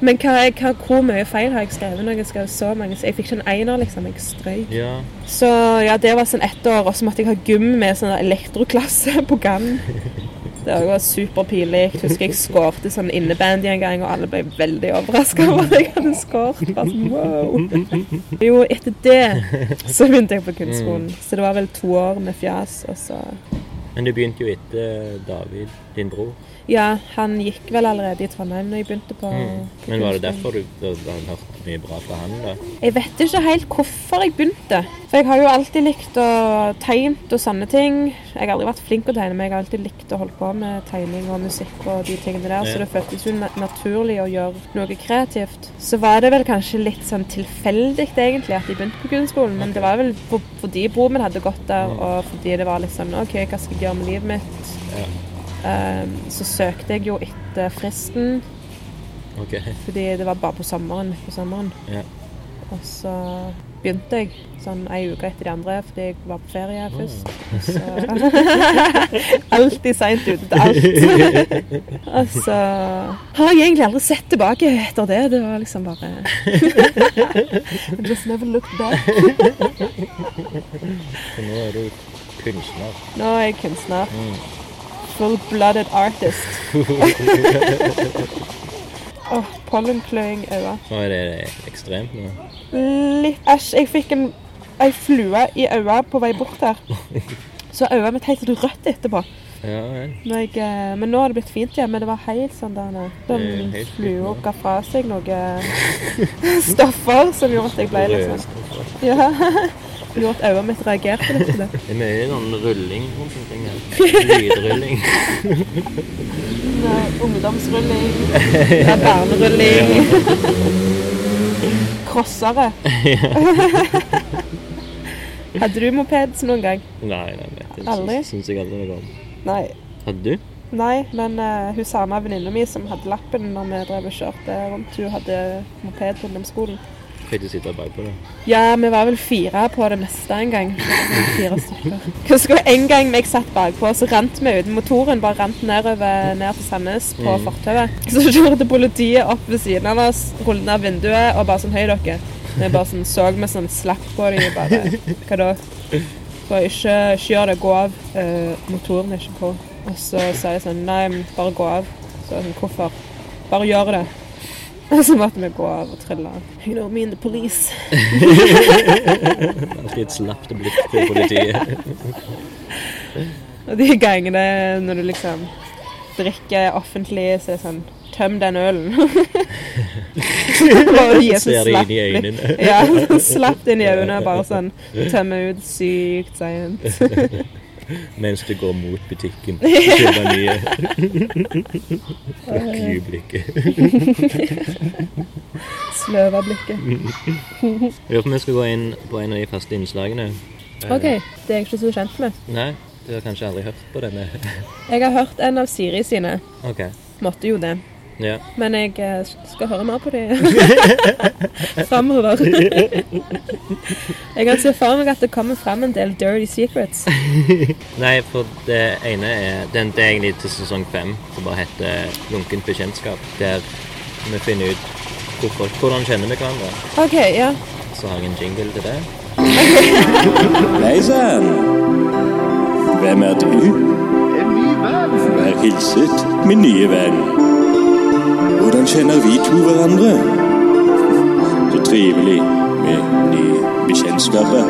Men hva, er- hva, hvor mye feil har jeg skrevet når jeg skrev så mange? Så jeg fikk ikke en einer, liksom. Jeg strøyk.
Ja.
Så ja, det var sånn ett år, og så måtte jeg ha gym med sånn elektroklasse <laughs> på gang. Det var superpinlig. Jeg Husker jeg skårte sånn innebandy en gang, og alle ble veldig overraska over at jeg hadde skåret. Bare sånn, wow. Jo, etter det så begynte jeg på kunstskolen.
Mm.
Så det var vel to år med fjas, og så
Men det begynte jo etter David, din bror.
Ja, han gikk vel allerede i Trondheim når jeg begynte på, på
Mm. Men var det
kunstskolen.
derfor du da, da han hørte mye bra fra han, da?
Jeg vet ikke helt hvorfor jeg begynte. For jeg har jo alltid likt å tegnet og sånne ting. Jeg har aldri vært flink å tegne, men jeg har alltid likt å holde på med tegning og musikk og de tingene der,
Ja.
så det føltes jo na naturlig å gjøre noe kreativt. Så var det vel kanskje litt sånn tilfeldig egentlig at jeg begynte på kunstskolen, men det var vel for- fordi broren min hadde gått der,
Mm.
og fordi det var liksom OK, hva skal jeg gjøre med livet mitt?
Ja.
Ehm, så søkte jeg jo etter fristen,
OK.
fordi det var bare på sommeren, midt på sommeren.
Ja.
Og så begynte jeg sånn ei uke etter de andre, fordi jeg var på ferie først. Så <laughs> alltid seint ute til alt. Og så har jeg egentlig aldri sett tilbake etter det. Det var liksom bare I Just never looked back.
Så nå er du kunstner.
Nå er jeg kunstner. Full-blooded artist. Åh, pollenkløing øyne.
Nå er det ekstremt nå.
litt Æsj, jeg fikk en, ei flue i øyet på vei bort her. Så øyet mitt helt rødt etterpå.
Ja vel.
Når jeg, eh, men nå har det blitt fint igjen. Men det var helt sånn der nå.
Det er
Den
helt
flua
fint nå.
ga fra seg noen <laughs> stoffer som gjorde at jeg ble litt sånn
Rødskuffer.
ja. <laughs> Gjorde at øyet mitt reagerte litt på det.
Det er mye sånn rulling rundt
<laughs>
omkring her. Lydrulling.
Det er
<laughs>
Ungdomsrulling, det er barnerulling
<laughs>
Crossere. <laughs> Hadde du moped noen gang?
Nei, nei, nei. Det
Aldri?
syns- syns jeg aldri noe om.
Nei.
Hadde du?
Nei, men eh, hun samme venninna mi som hadde lappen når vi drev og kjørte rundt, hun hadde moped på ungdomsskolen.
Kan ikke sitte bakpå det.
Ja, vi var vel fire på det meste en gang. Fire stykker. Husker du en gang jeg satt bakpå, så rant vi ut. Motoren bare rant nedover ned til Sandnes på
Mm.
fortauet. Så kjørte politiet opp ved siden av oss, rullet ned vinduet og bare sånn Høy, dere. Vi bare sånn så vi sånn slapp på dem og bare Hva da? Bare ikke, ikke gjør det. Gå av. Eh, motoren er ikke på. Og så sa jeg sånn Nei, men bare gå av. Så jeg sånn Hvorfor? Bare gjør det. <laughs> Og så måtte vi gå av og trille. You know me and the police.
Ganske et slapt blikk til politiet.
Og de gangene når du liksom drikker offentlig, så er det sånn Tøm den
<laughs>
ølen. bare gi et sånt
Ser det
slapp
inn i
blikk.
øynene.
Ja, sånn slapp inn i øynene og bare sånn Tømme ut sykt seint.
Mens du går mot
<laughs>
butikken. Kjøper nye. Plukker i blikket.
Sløva blikket.
Jeg lurer på om vi skal gå inn på en av de faste innslagene. Eh,
OK, det er jeg ikke så kjent med.
Nei, du har kanskje aldri hørt på denne. <laughs>
Jeg har hørt en av Siri sine.
OK.
Måtte jo det.
Ja.
Men jeg eh, skal høre mer på
<laughs>
det framover. Jeg kan se for meg at det kommer fram en del dirty secrets.
Nei, for det ene er den, Det er egentlig til sesong fem, som bare heter 'Lunkent bekjentskap'. Der vi finner ut hvorfor, hvordan kjenner vi hverandre.
OK, ja.
Så har jeg en jingle til det.
Hei sann! Hvem er du? En ny venn. Vær hilset, min nye venn. Hvordan kjenner vi to hverandre? Så trivelig med nye bekjentskaper.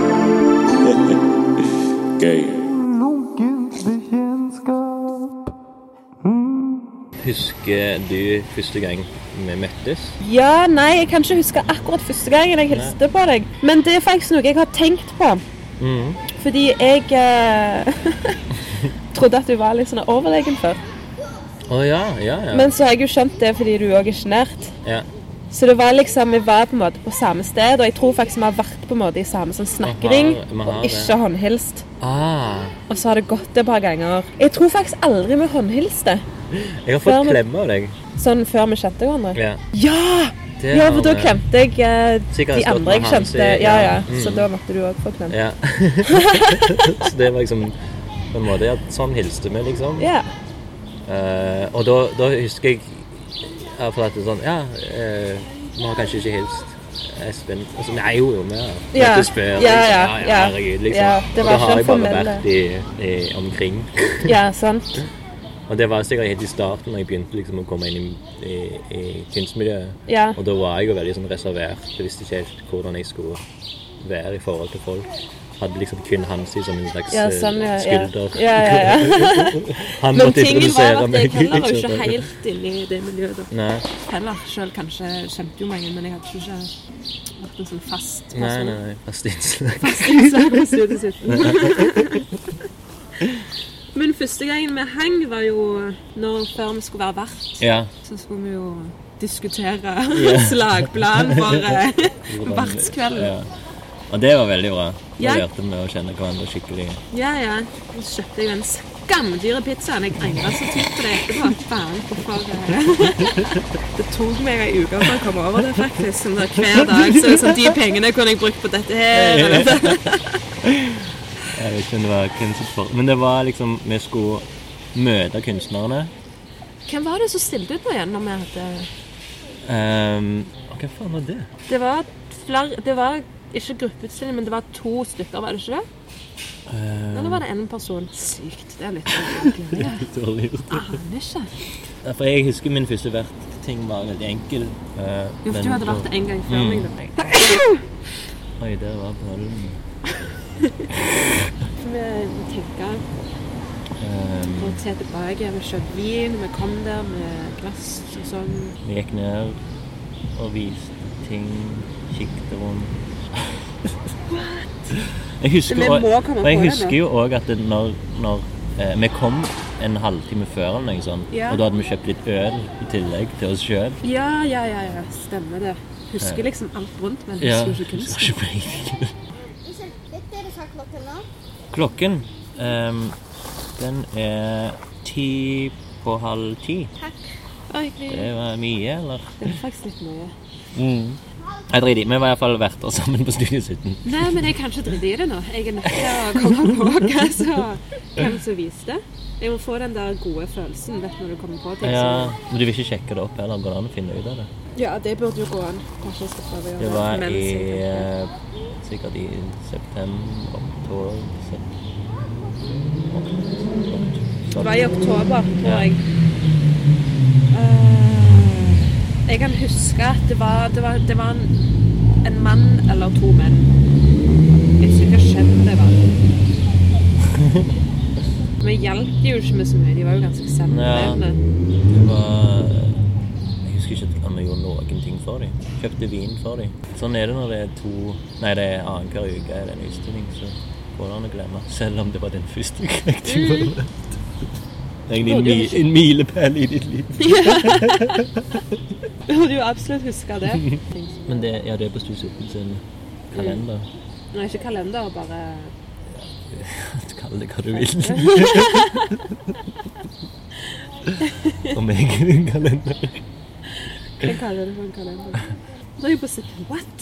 <laughs> Gøy.
Husker du første gang vi møttes?
Ja, nei, jeg kan ikke huske akkurat første gangen jeg hilste på deg. Men det er faktisk noe jeg har tenkt på.
Mm.
Fordi jeg eh, <laughs> trodde at du var litt sånn overlegen før.
Å ja, ja, ja.
Men så har jeg jo skjønt det fordi du òg er sjenert.
ja.
Så det var liksom, vi var på en måte på samme sted, og jeg tror faktisk vi har vært på en måte i samme sånn snakkering.
Vi har- vi har
Og
det.
ikke håndhilst.
Ah,
Og så har det gått et par ganger. Jeg tror faktisk aldri vi håndhilste.
jeg har
Før
fått
vi-
klem av deg.
Sånn før vi kjente hverandre.
Ja,
Ja!
det
Ja,
har
for da
vi.
klemte jeg eh,
Sikkert
de
stått
andre jeg
med Hansi,
kjente. Ja, ja.
ja. Mm.
Så da måtte du òg få klem.
Ja. <laughs> Så det var liksom på en måte at sånn hilste vi, liksom.
Ja.
Eh, og da, da husker jeg ja, for at det er sånn Ja, eh, vi har kanskje ikke hilst Espen. Altså, nei, jo, jo, vi har
Ja.
møttes før.
Ja,
Liksom.
ja, ja.
herregud, liksom.
Ja, det var ikke
og da har jeg bare
formelle-
vært i, i, omkring.
ja, sånn.
<laughs>
sant.
Og det var sikkert helt i starten da jeg begynte liksom, å komme inn i, i, i kunstmiljøet.
Ja.
Og da var jeg jo veldig sånn, reservert. Jeg visste ikke helt hvordan jeg skulle være i forhold til folk. Hadde liksom kun Hansi som en slags
ja,
eh,
sånn, ja. Ja,
skulder.
ja,
<laughs>
ja, ja.
Han
Men
måtte
tingen var
introdusere
at jeg
meg.
heller var
liksom. <laughs>
ikke helt inne i det miljøet da.
Nei,
heller. Selv kanskje kjente jo mange, men jeg hadde ikke vært en sånn fast person.
nei,
<laughs>
nei. nei. Fast innslag.
Fast innslag på studiesiden.
Men første gangen vi hang, var jo når, før vi skulle være vert.
<laughs> Ja.
Så skulle vi jo diskutere <laughs>
Ja.
slagplan for
<laughs>
eh, vertskvelden.
Ja. Og det var veldig bra. Da
Ja.
lærte vi å kjenne hverandre skikkelig.
Ja, ja. Så kjøpte jeg den skamdyre pizzaen. Jeg angrer så tykt på det etterpå. Faen, hvorfor eh, Det tok meg ei uke for å komme over det, faktisk. Sånn der, hver dag. Så, er det sånn, de pengene kunne jeg brukt på dette her. Eller dette.
Jeg vet ikke om det var kunst for Men det var liksom Vi skulle møte kunstnerne.
Hvem var det som stilte ut nå igjen? Når vi hadde...
Ehm, og hva faen var det?
Det var flere Det var ikke gruppeutstilling, men det var to stykker, var det ikke det?
Ehm,
Eller var det én person? Sykt. Det er litt Jeg
Dårlig gjort.
aner ikke.
Ja, For jeg husker min første vertting var veldig enkel. eh,
Jo, for
men-
du hadde vært det en gang før meg. da.
Oi, der var ballen.
Vi tenker
Ehm,
Vi se tilbake, vi kjøpte vin, vi kom der med glass og sånn.
vi gikk ned og viste ting, kikket rundt. Jeg husker,
Men vi må komme
og jeg
på det
husker
nå.
jo òg at det når, når eh, vi kom en halvtime før, eller noe sånt,
Ja.
og da hadde vi kjøpt litt øl i tillegg til oss sjøl.
Ja, ja, ja, ja, stemmer det. Husker liksom alt rundt, men husker
Ja.
jo ikke kunsten.
så ble jeg-
Unnskyld, vet dere hva klokken er?
Klokken ehm, den er ti på halv ti.
Oi, det
Det var mye, eller?
var faktisk litt mye.
Jeg driter i. Vi var iallfall verter sammen på Studio 17.
Nei, men jeg kan ikke drite i det nå. Jeg er nødt til å komme på <laughs> hva som- hvem som viste. Jeg må få den der gode følelsen vet du, når du kommer på ting.
Ja, men du vil ikke sjekke det opp heller? Går det an å finne ut av det?
ja, det burde jo gå an. Kanskje jeg skal prøve å gjøre
Det var
mens
i
jeg tenker.
eh, sikkert i september, oktober sep-
Det var i oktober, tror
Ja.
jeg. Eh, jeg kan huske at det var, det var, det var en, en mann eller to menn. Jeg husker ikke kjønn det <laughs> var. Vi hjalp de jo ikke med så mye. De var jo ganske selvlevende.
eh, Det var eh, Jeg husker ikke om jeg gjorde noen ting for dem. Kjøpte vin for dem. Sånn er det når det er to Nei, det er annenhver uke er det en utstilling, så går det an å glemme. Selv om det var din første <laughs> gang du var med. Egentlig en, mi, en milepæl i ditt liv.
<laughs> Vi burde jo absolutt huske det. <laughs>
Men det, ja, det er på Stue 17 sin kalender.
Nei, ikke kalender, bare
Mm. <laughs> Kall det hva du vil. Om jeg er en kalender.
Jeg kaller det for en kalender. Nå er jeg på september. What?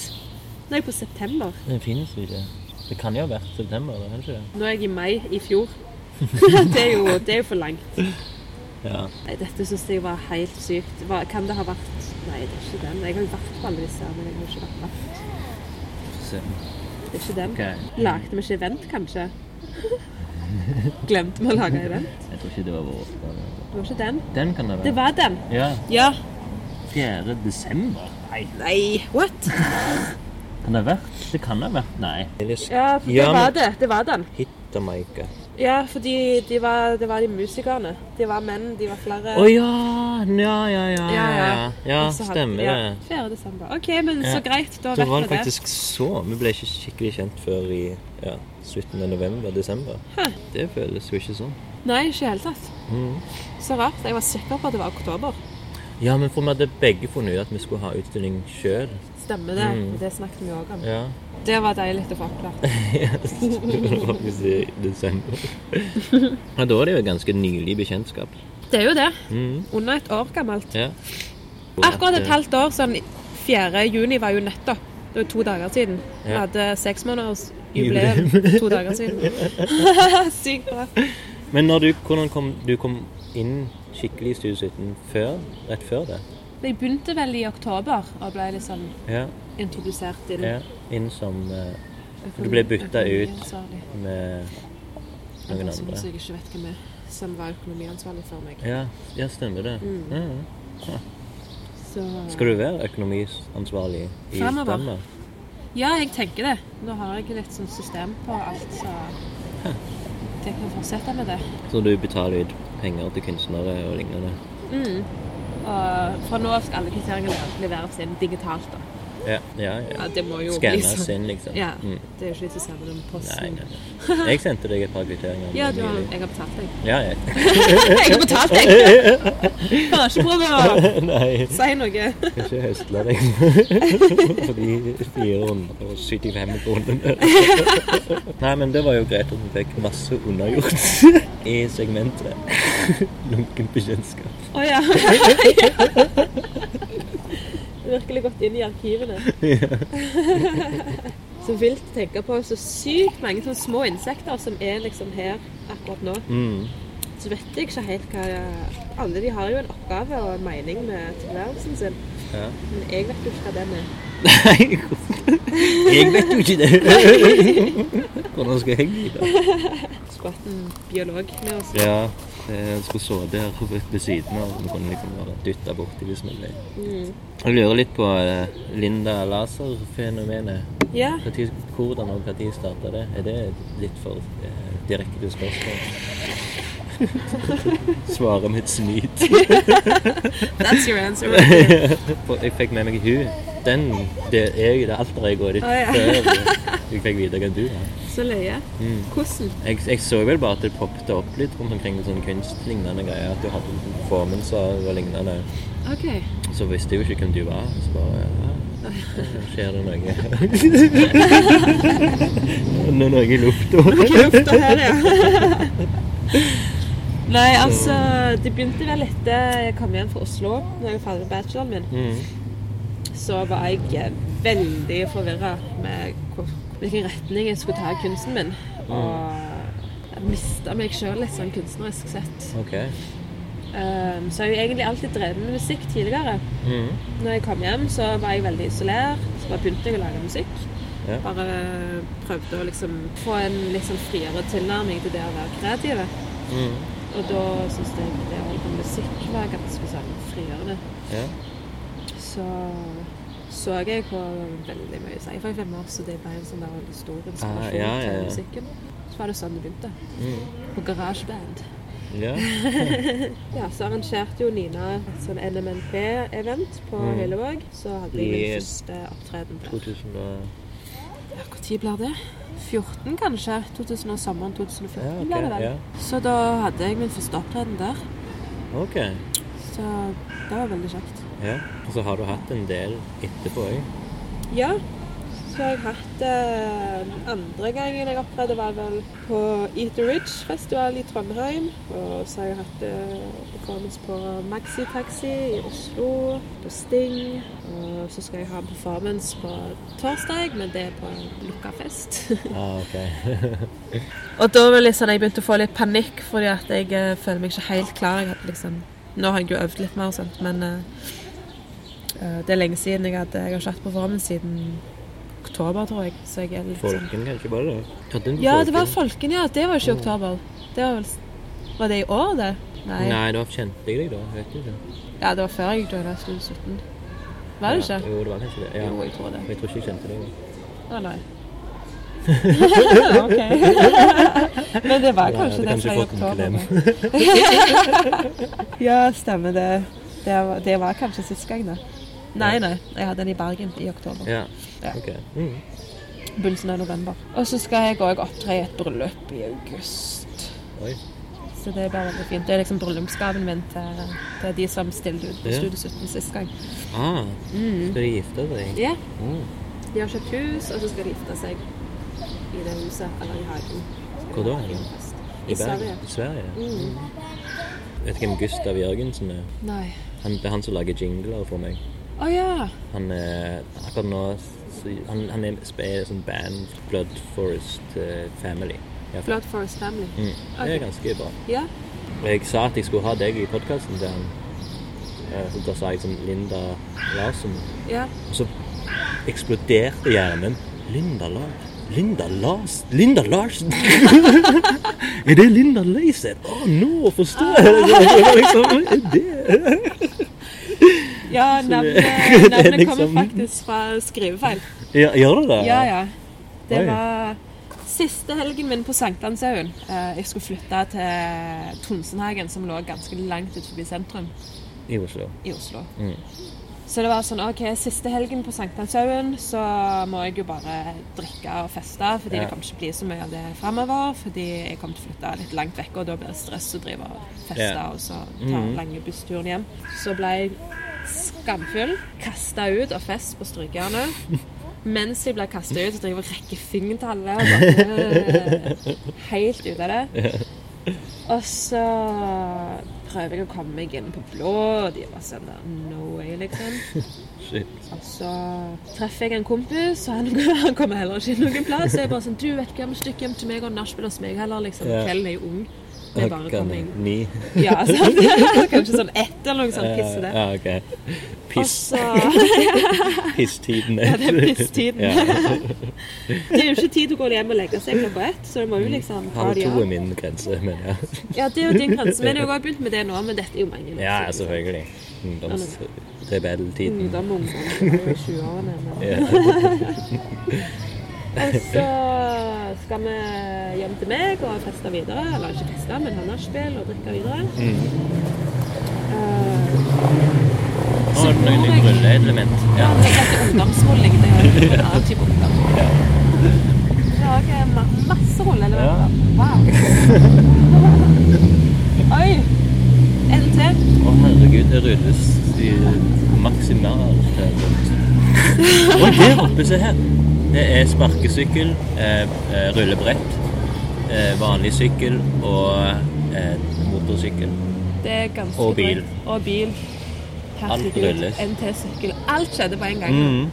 Nå er jeg på september.
Det finnes jo ikke. Det kan jo ha vært september, det kan ikke det?
Nå er jeg i mai i
<laughs>
fjor. det, er jo, det er jo for langt.
Ja.
Nei, dette syns jeg var helt sykt. Hva, kan det ha vært Nei, det er ikke den. Jeg har jo vært på alle disse, men jeg har jo ikke vært på
Så,
Det er ikke den.
ok.
Lagde vi ikke event, kanskje? <laughs> Glemte vi å lage event?
Jeg tror ikke det var vår oppgave.
Det var ikke den.
Den kan det være.
Det var den.
Ja.
Ja.
4. desember? Nei.
Nei, what?
Kan det ha vært? Det kan det ha vært. Nei.
Ja, for det
Ja, men-
var det. Det var den.
Hittermaker.
Ja, fordi de var, det var de musikerne. De var menn, de var flere.
Å ja. ja! Ja, ja, ja. Ja,
Og så hadde-
stemmer
ja,
det.
4. desember. OK, men så
Ja.
greit. Da
Da
vet
var
vi
det
det.
faktisk så. Vi ble ikke skikkelig kjent før i ja, slutten av november-desember.
Hæ.
Det føles jo ikke sånn.
Nei, ikke i det hele tatt.
Mm.
Så rart. Jeg var sikker på at det var oktober.
Ja, men for vi hadde begge funnet ut at vi skulle ha utstilling sjøl.
Stemmer det.
Mm.
Det snakket vi òg om.
Ja. <laughs>
Det var deilig å få oppklart.
Det var faktisk i
<laughs>
desember. Ja, da er det jo et ganske nylig bekjentskap.
Det er jo det.
Mhm.
Under et år gammelt.
Ja. eh,
Akkurat et halvt år. sånn 4. juni var jo nettopp. Det var to dager siden. Vi
Ja.
hadde
<laughs>
seksmånedersjubileum to dager siden. Sykt bra.
Men når du, hvordan kom du kom inn skikkelig i Studio 17 før, rett før det?
Jeg begynte vel i oktober og ble liksom
Ja,
introdusert inn.
ja. Inn som eh, Du ble bytta ut.
Økonomiansvarlig.
med
En
noen
person
andre.
som jeg ikke vet hvem er, som var økonomiansvarlig for meg.
Ja, ja stemmer det.
Mm.
Ja, ja.
Så
Skal du være økonomiansvarlig i
Fremover.
Stavanger?
Ja, jeg tenker det. Nå har jeg litt sånn system på alt, så jeg kan fortsette med det.
Så du betaler ut penger til kunstnere og lignende?
Og fra nå av skal alle kvitteringer leveres inn digitalt. da.
Ja, ja, ja.
Ja, det må jo bli
Skannes
sånn.
inn, liksom.
Ja,
Mm.
det er jo ikke vits å sende den
Nei,
posten.
nei, nei. Jeg sendte deg et par kvitteringer.
Ja, du har,
nylig.
jeg har betalt
<laughs>
deg.
Ja, jeg.
Jeg har betalt deg!
<laughs>
Bare ikke prøv å
Nei,
si noe.
jeg kan ikke høsle deg <laughs> for de 475 <laughs> kronene. Nei, men det var jo greit at vi fikk masse <laughs> undergjort i segmentet lunken bekjentskap.
Å <laughs> ja. Virkelig gått inn i arkivene. så vilt å tenke på så sykt mange sånne små insekter som er liksom her akkurat nå.
Mm.
Så vet jeg ikke helt hva Alle de har jo en oppgave og en mening med tilværelsen sin.
Ja.
Men jeg vet jo ikke hva den er.
Nei, jeg vet jo <laughs> ikke det. Hvordan skal jeg vite?
Skulle hatt en biolog med oss.
Ja, eh, jeg skulle sittet her og vært ved siden av, og kunne liksom bare dytta borti hvis vi ble. Jeg lurer litt på eh, Linda Laser-fenomenet.
<laughs> Ja.
Hva tid- Hvordan og når starta det? Er det litt for eh, direkte spørsmål? <laughs> Svaret mitt snyt.
That's your answer. right there.
<laughs> For Jeg fikk med meg hun. Den, det er jeg, det alter jeg går ditt
Å, ja.
før. Jeg fikk vite hvem du er.
Så løye.
Mm.
Hvordan?
Jeg, jeg så vel bare at det poppet opp litt rundt omkring med sånne kunstlignende greier. At du hadde formenser og lignende.
OK.
Så visste jeg jo ikke hvem du var. Så bare ja, ja, skjer det noe? <laughs> Det er noe i lufta. <laughs>
lufta her, ja. <laughs> Nei, altså, det begynte vel etter jeg kom hjem fra Oslo, når jeg var ferdig med bacheloren min.
Mm.
Så var jeg eh, veldig forvirra med hvor- hvilken retning jeg skulle ta i kunsten min. Og jeg mista meg sjøl litt sånn kunstnerisk sett.
OK.
Um, så jeg har jo egentlig alltid drevet med musikk tidligere.
Mm.
Når jeg kom hjem, så var jeg veldig isolert. Så bare begynte jeg å lage musikk.
Ja.
Bare prøvde å liksom få en litt sånn friere tilnærming til det å være kreativ.
Mm.
Og da syns jeg det å holde på med musikk var ganske sånn frigjørende.
Ja.
Så så jeg på veldig mye sci-fi i fem år, så det ble en sånn der veldig stor inspirasjon
Ah, ja, ja, ja.
til musikken. Så var det sånn det begynte.
Mm.
På garasjeband.
ja.
Ja, så arrangerte jo Nina et sånn NMNP-event på
Mm.
Høylevåg. Så hadde jeg
I-
min første opptreden der.
2000 og
Ja, Når blir det? 14, kanskje? 2000 og Sommeren 2014
Ja, ok,
blir det vel.
ja.
Så da hadde jeg min første opptreden der.
OK.
Så det var veldig kjekt.
Ja. Og så har du hatt en del etterpå òg.
Ja. Så har jeg hatt eh, andre gangen jeg opptredde, var vel på Eat the Ridge-festival i Trondheim. Og så har jeg hatt eh, performance på Maxi Taxi i Oslo, på Sting. Og så skal jeg ha en performance på torsdag, men det er på en lukka fest. <laughs>
Ah, OK.
Og da var liksom, jeg begynte å få litt panikk, fordi at jeg eh, føler meg ikke helt klar. Jeg hadde liksom, nå har jeg jo øvd litt mer, og sånt, men eh, eh, det er lenge siden jeg hadde Jeg har ikke hatt performance siden oktober, tror jeg. Så jeg er litt sånn
Folken, kanskje bare det? Tatt inn på
Ja, det var
Folken.
Folken, ja. Det var ikke i oktober. Det var vel s- Var det i år, det? Nei.
Nei, da kjente jeg deg da. Vet du ikke.
Ja, det var før jeg joina 2017. Var det
Ja,
ikke?
Jo, det var kanskje det. Ja.
Jo, jeg tror det.
Jeg tror ikke jeg kjente deg.
Å
<laughs>
nei. <laughs> ok.
<laughs>
<laughs> Men det var
Ja,
kanskje
det
det
kan ikke
fra
folk
oktober. ja, stemmer det. Det var, det var kanskje sist gang, da. Nei, nei. Jeg hadde den i Bergen i oktober.
<laughs> Ja.
Ja.
Ok. Mm.
Begynnelsen av november. Og så skal jeg òg opptre i et bryllup i august.
Oi.
Så det blir veldig fint. Det er liksom bryllupsgaven min til, til de som stilte ut på
Ja.
Studio 17 sist gang.
Ah,
Mm.
skal de gifte deg?
Ja.
Mm.
De har kjøpt hus, og så skal de gifte seg i det huset eller i hagen.
Hvor da?
I Sverige. Mm.
I Sverige? Mm. Vet du hvem Gustav Jørgensen er?
Nei.
Han, det er han som lager jingler for meg.
Å ja.
Han er akkurat nå så, han, han er sp- er sånn band Blood Forest eh, Family. Ja, for-
Blood Forest Family.
Mm. Det
Ok.
er ganske bra.
Ja.
Jeg sa at jeg skulle ha deg i podkasten til han. Eh, så Da sa jeg sånn Linda Larsen.
ja.
Og så eksploderte hjernen. Linda Lars... Linda Lars... Linda Larsen! <laughs> er det Linda Leiseth? Å, nå forstår jeg! Det <laughs> var liksom, er det?
ja navnet,
<laughs> det er
navnet
liksom-
kommer faktisk fra skrivefeil.
Ja, gjør det det?
Ja, ja. Det
Oi.
var siste helgen min på Sankthanshaugen. Eh, Jeg skulle flytte til Tonsenhagen, som lå ganske langt ut forbi sentrum.
I Oslo.
i Oslo.
Mm.
Så det var sånn OK, siste helgen på Sankthanshaugen så må jeg jo bare drikke og feste, fordi
Ja.
det kommer ikke bli så mye av det framover. Fordi jeg kommer til å flytte litt langt vekk, og da blir det stress å drive og feste
Ja. Mm.
og så ta lange bussturen hjem. Så ble jeg skamfull, kasta ut av fest på strykejernet. <laughs> Mens jeg ble kasta ut, så driver jeg og rekker fingeren til alle.
<laughs>
Og bare, helt ute av det. Og så prøver jeg å komme meg inn på blå, og de var sånn der No way, liksom.
<laughs> Shit.
Og så treffer jeg en kompis, og han <laughs> han kommer heller ikke inn noen plass. Så jeg er bare sånn Du, vet du hva, vi stikker hjem til meg og nachspiel hos meg heller, liksom.
Ja.
Kvelden er jo ung. Vi bare kommer inn.
Ni.
Ja, <laughs> sant? Kanskje sånn ett eller noe sånt. Pisse det.
Eh, Ja, ok. Piss,
Og så
<laughs>
<laughs>
pisstiden.
Ja,
<laughs>
det er pisstiden.
ja.
<laughs> Det er jo ikke tid til å gå hjem og legge seg klokka ett, så du må jo liksom
Halv
det
Mm. to er
av.
min grense, mener jeg.
Ja, det er jo din grense. Men jeg har begynt med det nå, men dette er jo mange år siden.
Ja, ja, selvfølgelig. Ungdomsrebelltiden.
Ungdom,
<laughs>
ungdom, i 20-årene. men-
Ja.
<laughs> Og så skal vi hjem til meg og feste videre. Eller ikke feste, men ha nachspiel og drikke videre.
Mm.
Eh,
Å, det er noe brylleelement. Ja.
det er ikke ungdomsrulling, det er jo en annen type ungdom. Ja, ok, ma- masse
Ja.
rolleelementer. Wow. <laughs> Oi! En til.
Å, herregud, det ryddes i maksimalt.
<laughs>
Og der oppe, se her. Det er sparkesykkel, eh, eh, rullebrett, eh, vanlig sykkel og eh, motorsykkel.
Det er ganske
Og bil.
drøyt. Og bil.
Alt rulles.
NT-sykkel. Alt skjedde på en gang.
Mhm.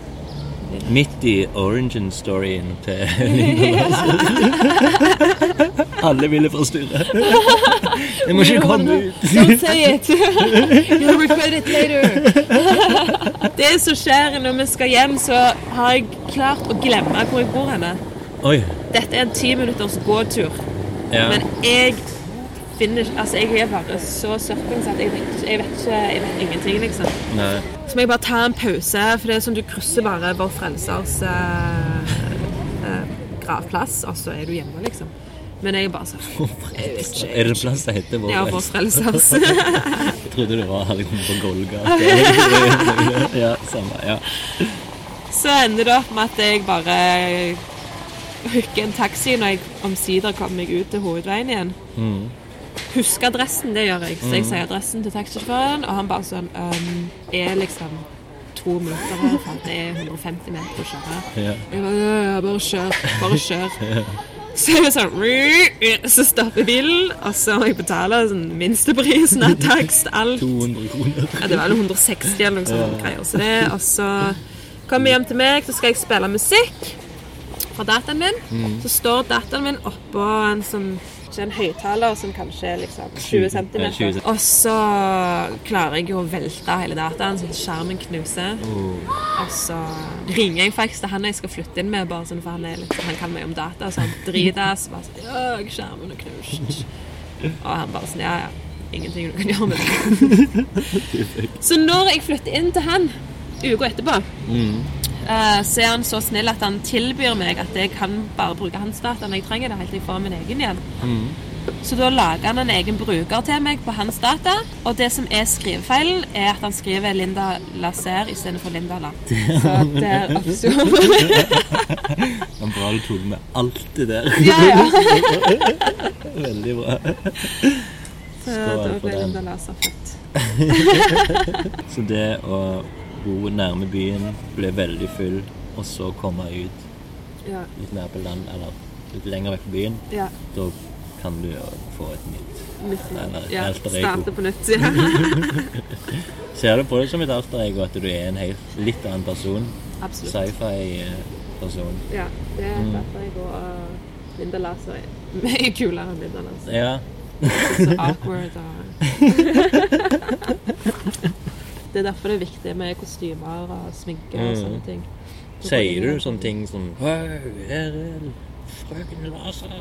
Midt i origin-storyen til <laughs>
<laughs>
Alle ville forstyrre. Jeg må ikke komme ut.
Don't say it! <laughs> You'll regret it
<laughs>
later! Det som skjer når vi skal hjem, så har jeg klart å glemme hvor jeg bor henne.
Oi.
Dette er en ti minutters gåtur,
Ja.
men jeg finner ikke Altså, jeg er bare så sørpings at jeg vet, ikke- jeg vet ikke Jeg vet ingenting, liksom.
Nei.
Så må jeg bare ta en pause, for det er sånn du krysser bare Vår Frelsers eh, eh, gravplass, og så er du hjemme, liksom. Men jeg er bare sånn Jeg vet ikke.
Er det plass til å hete Vår
Ja, Vår
Frelser?
Frelsers. <laughs>
Jeg trodde det var liksom på Golgata. ja, samme. Ja.
Så ender det opp med at jeg bare hooker en taxi når jeg omsider kommer meg ut til hovedveien igjen. Husker adressen, det gjør jeg. Så jeg sier adressen til taxisjåføren, og han bare sånn um, Er liksom to minutter her, for at det er 150 meter å kjøre.
Ja.
Jeg bare, ja, ja, bare kjør, bare kjør. Så er det sånn «Rrr», Så stopper bilen, og så må jeg betale sånn minsteprisen av takst, alt.
200 kroner.
Ja, det var vel 160 eller noe sånt greier. Så det, og så kom jeg hjem til meg, så skal jeg spille musikk fra dataen min.
Mm.
Så står dataen min oppå en sånn ikke en høyttaler som kanskje er liksom 20 cm.
Ja, 20 centimeter.
Og så klarer jeg jo å velte hele dataen, så skjermen knuser.
Oh.
Og så ringer jeg faktisk til han jeg skal flytte inn med, bare sånn, for han, er litt, han kan mye om data. Så han driter så bare sånn «Ja, skjermen er knust. Og han bare sånn Ja, ja. Ingenting du kan gjøre med det. Så når jeg flytter inn til han uka etterpå, eh, så er han så snill at han tilbyr meg at jeg kan bare bruke hans data når jeg trenger det, helt til jeg får min egen igjen. Så da lager han en egen bruker til meg på hans data, og det som er skrivefeilen, er at han skriver Linda Laser istedenfor Linda <laughs> Land. Så <laughs> der oppsto
Han bra du tok med alt det der.
Ja, <laughs> ja.
Veldig bra.
Så
Skål
da
for
ble
den.
Linda Laser født.
Så det å bo nærme byen, bli veldig full, og så komme ut
Ja,
litt mer på land, eller litt lenger vekk fra byen,
ja.
da kan du jo få et nytt
Mitt navn.
Eller et
Ja,
alter ego.
Starte på nytt. <laughs> Ja.
Ser du på det som et alter ego at du er en helt litt annen person? eh,
Absolutt.
Sci-fi-person.
Ja, det er
Mm.
et alter ego. og Linda Laser er <laughs> mye kulere enn Linda Laser.
Ja.
så awkward
<laughs>
og Det er derfor det er viktig med
Mm.
kostymer og sminke og sånne ting.
sånn? Sier du sånne ting som Wow, her er Frøken Larsen.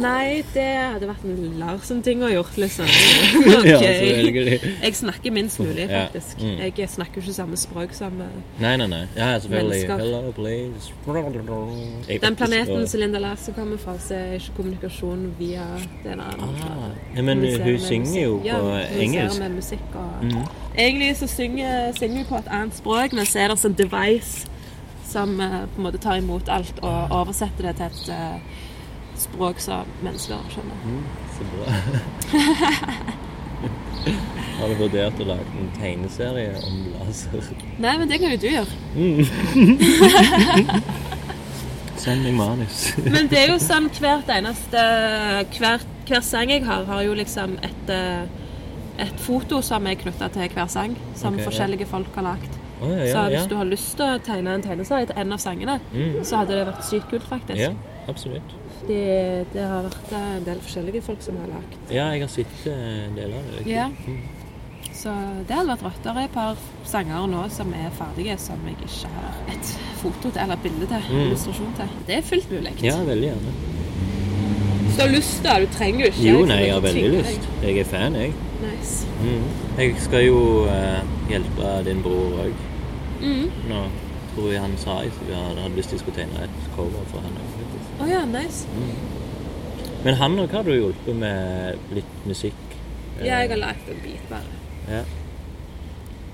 Nei, det hadde vært en Larsen-ting å gjort, liksom.
<laughs> Ja,
Ok.
selvfølgelig.
Jeg snakker minst mulig,
Ja.
faktisk.
Mm.
Jeg snakker jo ikke samme språk som eh,
Nei, nei, nei. Ja, selvfølgelig.
Mennesker.
Hello, please. Jeg
Den
vet ikke
planeten
hva-
som Linda Larsen kommer fra, så er ikke kommunikasjon via DNA.
Ah, ja, men
Kommuniserer
hun
med
synger
musikk.
jo
ja,
på
kommuniserer
engelsk. Mm.
Med musikk og... Egentlig så synger, synger hun på et annet språk, men så er det en device som eh, på en måte tar imot alt og oversetter det til et eh, språk som mennesker skjønner.
Mm. Så
<laughs>
bra. Har du vurdert å lage en tegneserie om laser?
Nei, men det kan jo du gjøre.
Send meg manus.
Men det er jo sånn hvert eneste Hver, hver sang jeg har, har jo liksom et, eh, et foto som er knytta til hver sang, som
Ok, ja.
forskjellige folk har lagd.
<laughs> Å, ja,
Så
ja, ja. Mm.
hvis du har lyst til å tegne en tegneserie til en av sangene, så hadde det vært sykt kult, faktisk.
ja, absolutt.
Fordi det har vært eh, en del forskjellige folk som har lagd.
Ja, jeg har sett eh, en del av det.
Ja. Så det hadde vært rått. Det er et par sanger nå som er ferdige, som jeg ikke har et foto til, eller et bilde til, illustrasjon til. Det er fullt mulig.
Mm. Ja, veldig gjerne.
Hvis du har lyst da, du trenger jo ikke.
Jo,
liksom,
nei, jeg
du
har veldig
tvinger
lyst. Jeg er fan, jeg.
deg. Nice.
Mm. Jeg skal jo eh, hjelpe din bror òg. Nå tror jeg han sa jeg skulle- han hadde lyst til jeg skulle tegne et cover for han òg.
Å ja, nice.
Men han òg har du hjulpet med litt musikk. eh,
Ja, jeg har lagd en bit bare.
ja.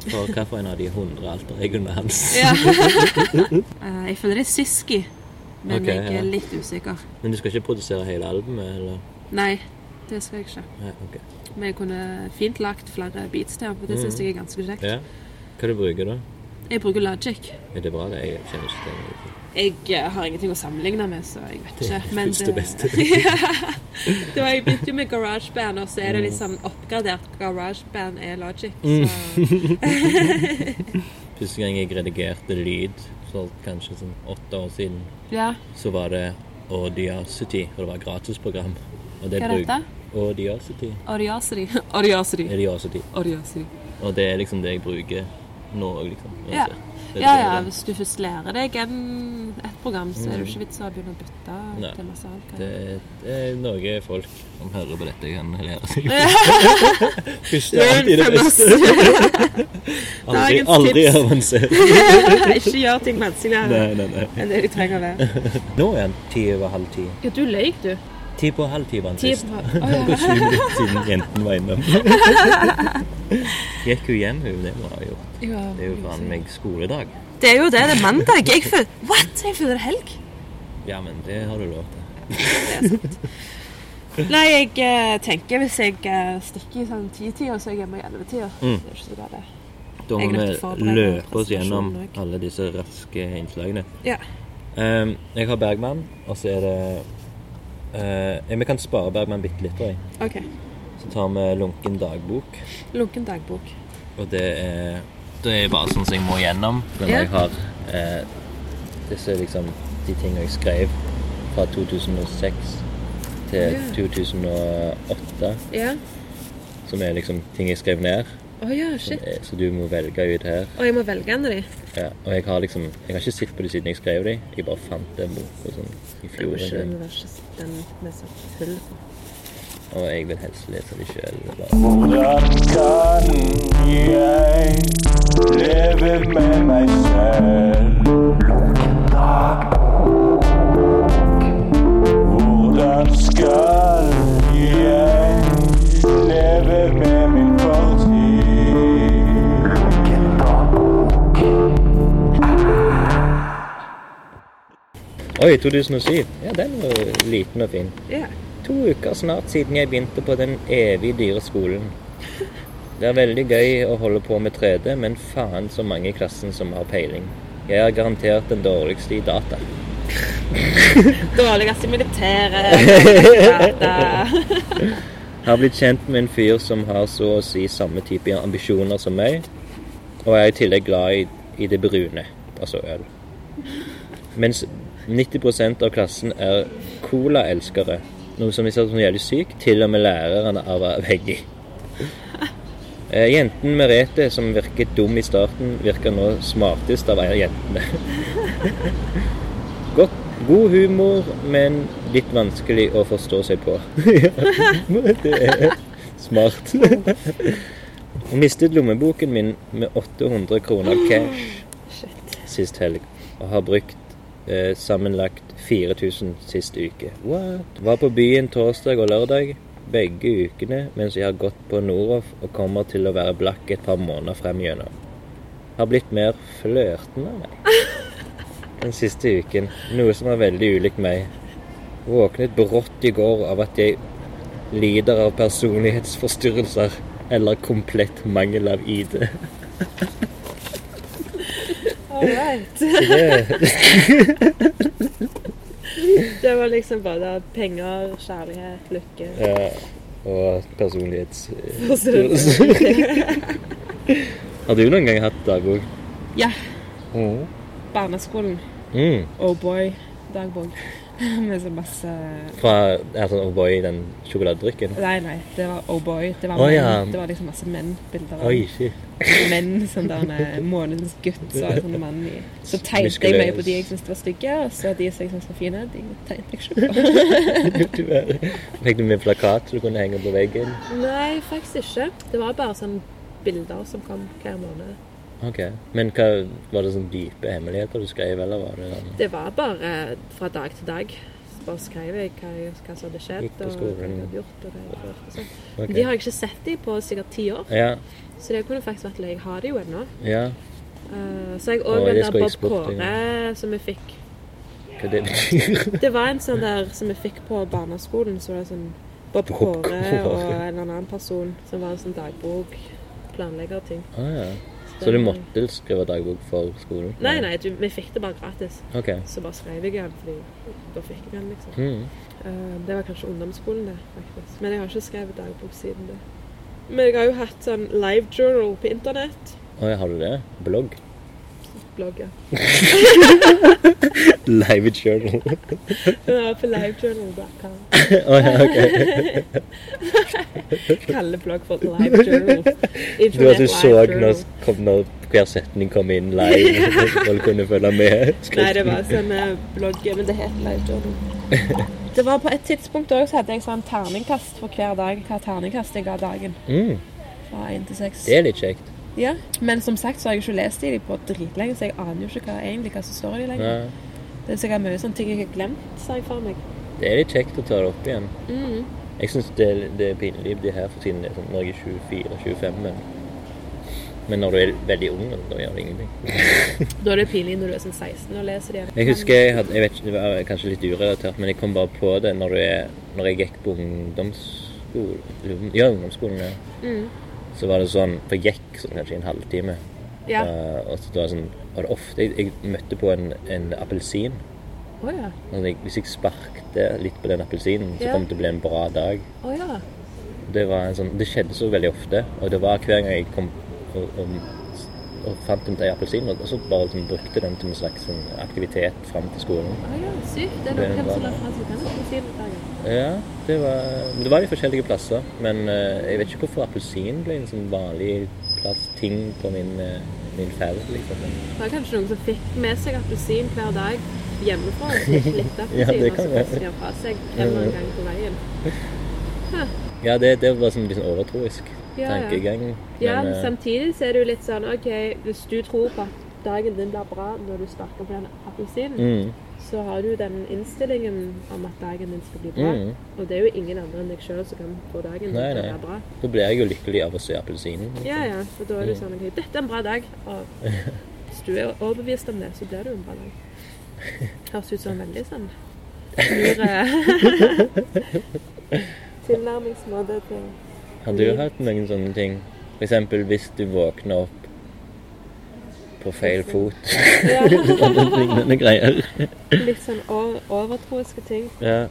For hvilken av de hundre alter egoene hans.
Ja.
<laughs>
Eh, jeg føler det er Siski, men
Ok,
jeg
ja.
er litt usikker.
Men du skal ikke produsere hele albumet, eller?
Nei, det skal jeg ikke.
Ja, ok.
Men jeg kunne fint lagt flere beats til, for det synes jeg er ganske kjekt.
Mm. Ja. Hva du bruker du da?
Jeg bruker Logic.
Er det bra? det? Jeg kjenner ikke til det.
Jeg eh, har ingenting å sammenligne med, så jeg vet
Det
ikke.
er
men
første
<laughs>
beste.
det var, jeg begynte jo med GarageBand, og så er det
Mm.
liksom oppgradert. GarageBand er Logic.
<laughs>
Så
Første gang jeg redigerte lyd, så kanskje sånn åtte år siden,
ja.
så var det Audiosity, og det var et gratisprogram. Og
Hva er
bruk-
dette?
Audiosity.
Oriosity. <laughs> Oriosity.
Audiosity.
Oriosity.
Og det er liksom det jeg bruker nå òg, liksom.
Ja.
uansett.
Ja,
Det er det
ja,
jeg-
hvis du først lærer deg en, et program, så er det jo ikke vits å begynne å bytte
Nei.
til masse annet. <laughs>
Det, det er noe folk som hører på dette, kan lære seg. <laughs> Første er alltid det beste. <laughs>
<laughs> Dagens
Aldri, aldri
tips.
avansert.
Ikke gjør ting vanskeligere
Nei, nei, nei.
enn det de trenger å
<laughs>
være.
Nå er den ti over halv ti.
Ja, du løy, du.
Ti på halv ti var den
Ti
sist.
på
Det var 20 minutter siden jenten var <laughs> innom. Gikk hun hjem, hun? Det må hun ha gjort. <laughs> Det er jo faen meg skoledag.
Det er jo det. Det er mandag. Jeg føler What? Jeg føler det er helg.
Ja, men det har du lov til.
Nei, jeg eh, tenker hvis jeg eh, stikker i sånn ti-tida, så er jeg hjemme i elleve-tida.
Mm.
Det er ikke så galt, det.
Da må
Jeg er nødt til å
vi
forberede
løpe oss
presentasjonen
gjennom
også.
alle disse raske innslagene.
Ja.
Ehm, jeg har Bergman, og så er det eh, Vi kan spare Bergman bitte litt. tror jeg.
OK.
Så tar vi Lunken dagbok,
Lunken dagbok.
og det er Det er bare sånn som jeg må gjennom. Men
Ja.
jeg har eh, disse liksom de tingene jeg skrev fra 2006 til 2008,
Ja.
som er liksom ting jeg skrev ned.
Å ja,
Som
shit.
er, så du må velge ut her.
Og jeg må velge en av de.
Ja, og jeg har liksom Jeg har ikke sett på det siden jeg skrev det. Jeg bare fant det boka sånn i
Jeg må
fjor.
ikke,
eller-
den var ikke s- den med sånn hull på.
Og jeg vil helst lese det sjøl.
Hvordan kan jeg leve med meg selv? Hvordan skal jeg leve med min fortid?
Oi, 2007. Ja, den var jo liten og fin.
Ja.
To uker snart siden jeg begynte på den evig dyre skolen. Det er veldig gøy å holde på med 3D, men faen så mange i klassen som har peiling. Jeg er garantert den dårligste i data.
Dårligste i militæret.
Har blitt kjent med en fyr som har så å si samme type ambisjoner som meg, og er i tillegg glad i, i det brune, altså øl. Mens 90 av klassen er colaelskere, noe som viser som jævlig sykt, til og med læreren er avhengig. Eh, Jenten Merete, som virket dum i starten, virker nå smartest av jentene. <laughs> Godt God humor, men litt vanskelig å forstå seg på. det er smart. Jeg mistet lommeboken min med 800 kroner cash sist helg. Og har brukt eh, sammenlagt 4000 sist uke. What? Var på byen torsdag og lørdag begge ukene mens jeg har gått på Noroff og kommer til å være blakk et par måneder fremgjennom. Har blitt mer flørtende, nei den siste uken, noe som er veldig ulikt meg. Våknet brått i går av at jeg lider av personlighetsforstyrrelser eller komplett mangel av ID.
All right.
Det,
<laughs> Det var liksom både penger, kjærlighet, lykke
ja, Eh, og personlighets...
og så-
Har du noen gang hatt dagbok?
Ja.
Mm.
Barneskolen.
Mm.
Oh boy. Dagbok. <laughs> Med så masse
Fra altså, oh boy, den sjokoladedrikken?
Nei, nei. Det var oh boy. Det var,
Å,
menn.
ja.
det var liksom masse menn-bilder. av
Oi, shit. <laughs>
Menn som der eh, månedens gutt. Så, er sånne mann i.
<laughs>
så tegnte jeg mye på de jeg syntes var stygge, og så de som jeg syntes var fine, de tegnte jeg ikke på.
Fikk du med plakat så du kunne henge på veggen?
<laughs> Nei, faktisk ikke. Det var bare sånn bilder som kom hver måned.
Ok. Men hva, var det sånn dype hemmeligheter du skrev, eller var det sånn
Det var bare fra dag til dag. Så bare skrev jeg hva, jeg- hva som hadde skjedd,
Gikk på
og hva
skolen,
jeg
ja.
hadde gjort. Og det jeg hadde gjort og sånn.
Ok.
De har jeg ikke sett i på sikkert ti år,
Ja.
så det kunne faktisk vært løye. Jeg har det jo ennå.
ja.
Eh, så har jeg
Å,
òg
det
den der
skulle jeg
Bob
spurt deg om.
Kåre som vi fikk
Hva det betyr?
Det var en sånn der som vi fikk på barneskolen, så var det sånn Bob
Bob
Kåre og
Kåre.
en annen person som var en sånn dagbok, planleggerting.
<laughs> Ah, ja. Så du måtte skrive dagbok for skolen?
Nei, nei, du, vi fikk det bare gratis.
Ok.
Så bare skrev jeg den, fordi da fikk jeg den, liksom.
Mm.
Eh, Det var kanskje ungdomsskolen, det. faktisk. Men jeg har ikke skrevet dagbok siden det. Men jeg har jo hatt sånn live journal på internett.
Å, ja, har du det? Blogg?
Blogger.
<laughs> Live journal.
Den er på livejournal.com.
<laughs> Å ja,
<laughs>
ok.
Kaller blogg for live journal.
Du, at du
Internett
så
live
når,
journal.
kom, når hver setning kom inn
<laughs>
live, <laughs> og du kunne følge med
Nei, det
skriften?
var sånn eh, blogg, men det het live journal.
<laughs>
Det var På et tidspunkt også, så hadde jeg sånn terningkast for hver dag. Hva terningkast jeg ga dagen.
Mm.
Fra 1 til 6.
Det er litt kjekt.
Ja. Men som sagt så har jeg ikke lest i de på dritlenge, så jeg aner jo ikke hva, egentlig hva som står i de lenger.
Ja.
Det er sikkert mye sånne ting jeg har glemt, sa jeg for meg.
Det er litt kjekt å ta det opp igjen.
Mm.
Jeg syns det, det er pinlig å bli her for tiden. Det er sånn, når jeg er 24-25, men, men når du er veldig ung, da gjør det ingenting.
Da er det pinlig når du er sånn 16 og leser det.
Jeg husker jeg hadde, jeg vet ikke, det var kanskje litt urelatert, men jeg kom bare på det når, du er, når jeg gikk på ungdomsskolen. Ja, ungdomsskolen, ja.
Mm.
Så var det sånn, for jeg gikk sånn kanskje i en halvtime.
Ja.
Eh, og så det var sånn, var det ofte, jeg, jeg møtte på en, en appelsin.
Å ja.
Altså, jeg, hvis jeg sparkte litt på den appelsinen, så
Ja.
kom det til å bli en bra dag.
Å ja.
Det, var en sånn, det skjedde så veldig ofte, og det var hver gang jeg kom og, og, og fant en appelsin, og så bare liksom, brukte den til en slags sånn, aktivitet fram til skolen.
Å ja, sykt. Det er
Det
noen hvem
var-
som la fra seg denne appelsindagen.
Ja, det var, men det var de forskjellige plasser. Men eh, jeg vet ikke hvorfor appelsin ble en sånn vanlig plass, ting på min, eh, min ferd. Liksom.
Det var kanskje noen som fikk med seg appelsin hver dag hjemmefra.
<laughs>
og så fikk Litt
Ja,
appelsin,
det
og
kan
så
være.
kastet de den fra seg en eller annen gang på veien.
Ja, det, det var sånn litt sånn overtroisk
Ja, ja.
tankegang.
Ja, men
men, eh,
samtidig så er det jo litt sånn OK, hvis du tror på at dagen din blir bra når du sparker på den appelsinen,
mm,
så har du den innstillingen om at dagen din skal bli bra.
mm.
Og det er jo ingen andre enn deg sjøl som kan få dagen
Nei,
til å
nei.
være bra.
Da blir jeg jo lykkelig av å se appelsinen.
Ja, ja. Og da er det
Mm.
sånn ok, Dette er en bra dag. Og hvis du er overbevist om det, så blir det jo en bra dag. Høres ut som en veldig sånn lur
<laughs>
eh, tilnærmingsmåte til
Har du
Mm.
hatt noen sånne ting? For eksempel hvis du våkner opp på feil fot.
<laughs>
Eller lignende greier.
litt sånn o- overtroiske ting.
Ja.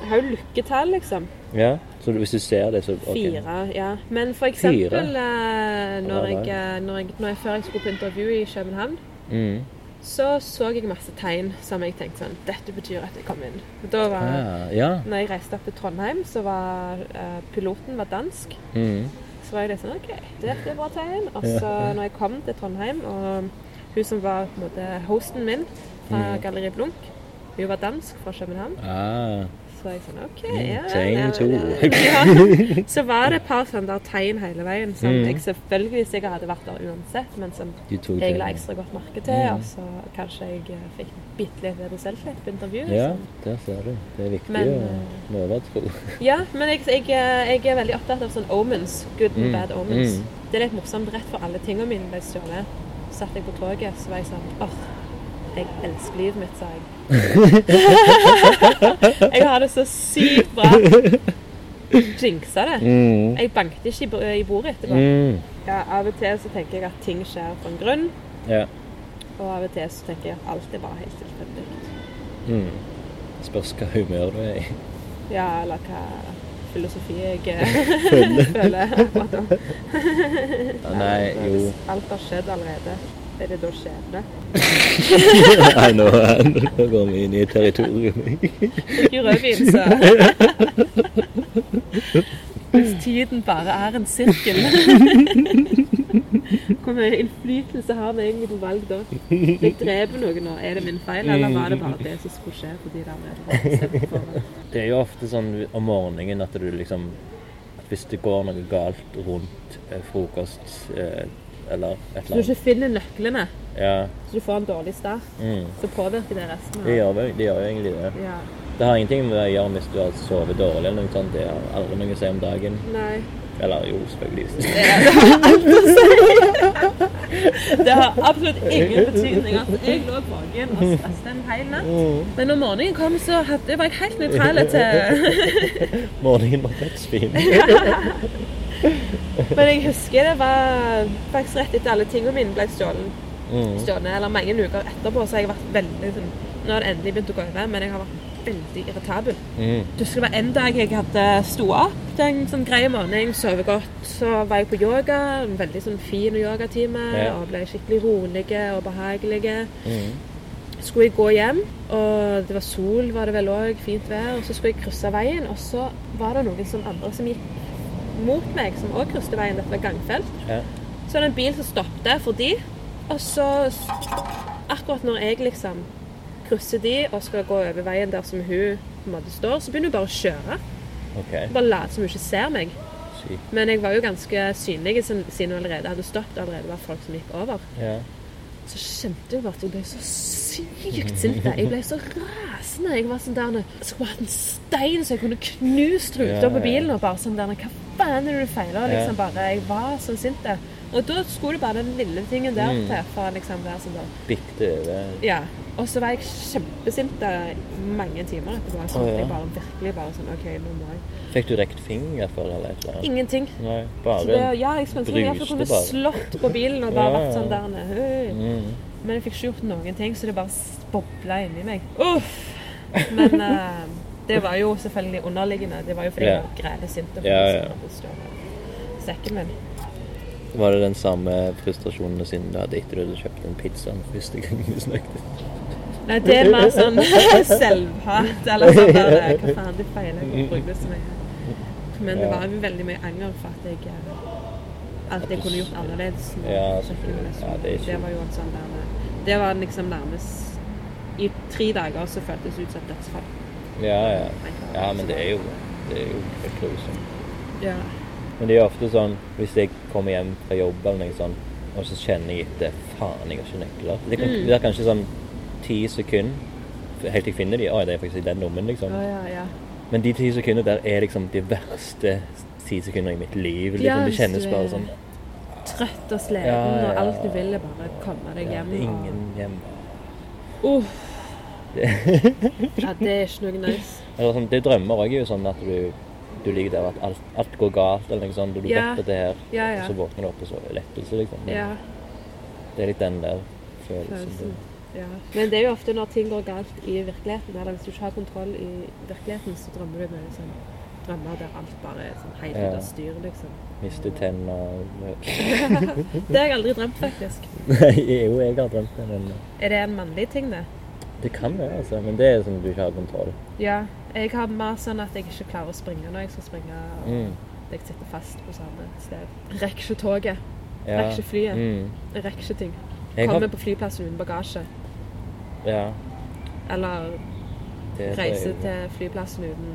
Jeg har jo lykketall, liksom.
ja. Så hvis du ser det, så ok.
Fire, ja. Men for eksempel eh, når jeg, eh, når jeg, når jeg, før jeg skulle på intervju i København,
Mm.
så så jeg masse tegn som jeg tenkte sånn Dette betyr at jeg kom inn. Da var
Ah, ja.
Når jeg reiste opp til Trondheim, så var eh, piloten var dansk.
Mm.
Så var jeg litt sånn OK, det er et bra tegn. Og så når jeg
Mm.
kom til Trondheim, og hun som var på en måte hosten min fra Galleri Blunk, Hun var dansk fra København.
Ah,
Så var jeg sånn OK, ja, ja,
Mm, tegn
ja,
to.
ja,
<laughs>
ja. Så var det et par sånne der tegn hele veien som
Mm.
jeg selvfølgelig sikkert hadde vært der uansett, men som
de tok
jeg
det.
la ekstra godt merke til.
Mm.
Og så kanskje jeg eh, fikk bitte litt bedre selvtillit på intervjuet.
Ja,
liksom.
der ser du. Det er viktig
Men, eh,
å med overtro.
ja men jeg, jeg, eh, jeg er veldig opptatt av sånne omens. Good and
Mm.
bad omens.
Mm.
Det er litt morsomt. Rett før alle tingene mine ble stjålet, satt jeg på toget, så var jeg sånn åh, jeg elsker livet mitt, sa
<laughs>
jeg. jeg har det så sykt bra. Jinxa det.
Mm.
Jeg banket ikke i bo- i bordet etterpå.
Mm.
Ja, av og til så tenker jeg at ting skjer på en grunn,
Ja.
og av og til så tenker jeg at alt er bare helt tilfeldig.
Mm. Spørs hva humør du er i.
Ja, eller hva filosofi jeg
<laughs>
eh, føler. akkurat nå.
Ah, Nei, jo.
Hvis alt har skjedd allerede, er det da skjebne?
Nei, nå, nå går vi inn i et territorium.
I rødvin, så Hvis tiden bare er en sirkel Hvor mye innflytelse har vi egentlig på valg da? Jeg dreper noen nå. Er det min feil, eller var det bare det som skulle skje? fordi det allerede var bestemt for meg?
Det er jo ofte sånn om morgenen at du liksom at Hvis det går noe galt rundt eh, frokost eh, eller et
Når du
eller annet
ikke finner nøklene,
Ja.
så du får en dårlig start,
Mm.
så påvirker det resten. av-
Det gjør, vel- det gjør jo egentlig det.
Ja.
Det har ingenting med å gjøre hvis du har sovet dårlig eller noe sånt. Det har aldri noe å si om dagen.
Nei.
Eller jo, selvfølgelig. <laughs>
Det har absolutt ingen betydning. Altså, jeg lå våken og stresset en hel natt. Men når morgenen kom, så hadde, var jeg helt nøytral til
Morgenen var dødsfin.
Men jeg husker det var faktisk rett etter alle tingene mine ble stjålet.
Mm.
stjålet eller mange uker etterpå, så har jeg vært veldig sånn Nå har det endelig begynt å gå over, men jeg har vært veldig irritabel.
Mm.
Du husker det var en dag jeg hadde sto opp til en sånn grei morgen, sove godt. Så var jeg på yoga, en veldig sånn fin yogatime,
Ja.
og ble skikkelig rolig og behagelig.
Mm.
Skulle jeg gå hjem, og det var sol, var det vel òg, fint vær, og så skulle jeg krysse veien, og så var det noen som andre som gikk mot meg, som òg krysset veien, dette var gangfelt.
Ja.
Så var det en bil som stoppet for de, og så akkurat når jeg liksom krysser de og skal gå over veien der som hun på en måte står, så begynner hun bare å kjøre.
OK.
Bare late som hun ikke ser meg.
Sykt.
Men jeg var jo ganske synlig siden siden hun allerede hadde stoppet. og Allerede var folk som gikk over.
Ja.
Så kjente jeg bare at jeg ble så sykt sint. Jeg ble så rasende. Jeg var sånn der Jeg skulle hatt en stein så jeg kunne knust
Ja,
ruta på
ja.
bilen. Og bare sånn der Hva faen er det du feiler?
Ja.
Liksom bare, jeg var så sint. der. Og da skulle det bare den lille tingen der
Mm.
til for å liksom være sånn der.
Bikte over.
Ja. Og så var jeg kjempesint der i mange timer etterpå. Så
Å, ja.
jeg bare virkelig bare sånn OK, nå må jeg
Fikk du rekt finger for eller et eller annet?
Ingenting.
Nei,
Så det,
bare
ja, jeg skulle ønske jeg i hvert fall
bruste
kunne
bare.
slått på bilen og bare
Ja,
vært
ja.
sånn der nede. Høy.
mm.
Men jeg fikk ikke gjort noen ting, så det bare s- bobla inni meg. Uff! Men eh, det var jo selvfølgelig underliggende. Det var jo fordi
Ja.
jeg var grælesint. og
Ja, ja.
fordi jeg skulle stjålet Sekken min.
Var det den samme frustrasjonen siden du hadde etter du hadde kjøpt en pizza den første gangen vi snakket?
Nei, det er mer sånn <laughs> selvhat eller sånn der eh, Hva faen, det feiler jeg å bruke så mye. Men det
Ja.
var jo veldig mye anger for at jeg eh, Alt jeg kunne gjort annerledes. med
Ja,
kjøkkenet, liksom.
ja, det er ikke-
det var jo en sånn der eh, Det var liksom nærmest I tre dager så føltes det ut som et dødsfall.
Ja, ja. Ja, men det er jo Det er jo helt grusomt.
Ja.
Men det er ofte sånn hvis jeg kommer hjem fra jobb eller noe sånt, og så kjenner jeg etter Faen, jeg har ikke nøkler. Det,
Mm.
kan, det er kanskje sånn ti sekunder helt til jeg finner de. Å, det er faktisk i den lommen, liksom.
Å, ja, ja.
Men de ti sekundene der er liksom de verste ti sekundene i mitt liv. Liksom.
Ja,
det kjennes
hvis du er-
bare sånn
trøtt og sliten,
Ja, ja,
og alt du
ja.
vil er bare komme deg
ja,
hjem.
det
og-
er Ingen hjemme.
Uff.
<laughs>
ja, det er ikke noe nice.
Eller sånn, det drømmer òg jo sånn at du, du ligger der at alt, alt går galt, eller noe sånt, og du
Ja.
vet at det er her,
Ja, ja.
og så våkner du opp, og så er det lettelse, liksom. Men
Ja,
Det er litt den der følelsen.
følelsen. Ja. Men det er jo ofte når ting går galt i virkeligheten, eller hvis du ikke har kontroll i virkeligheten, så drømmer du med liksom, drømmer der alt bare er sånn helt
Ja.
ut av styr, liksom.
Du mister tenner
Det har jeg aldri drømt, faktisk.
Nei, <laughs> jo, jeg har drømt det, men
Er det en mannlig ting, det?
det kan være, altså. Men det er sånn du ikke har kontroll.
Ja. Jeg har mer sånn at jeg ikke klarer å springe når jeg skal springe, og
Mm.
jeg sitter fast på samme sted. Rekker ikke toget,
Ja.
rekker ikke flyet,
Mm.
rekker ikke ting.
Jeg
Kommer
har,
på flyplassen uten bagasje.
ja.
Eller
til
Reise til flyplassen uten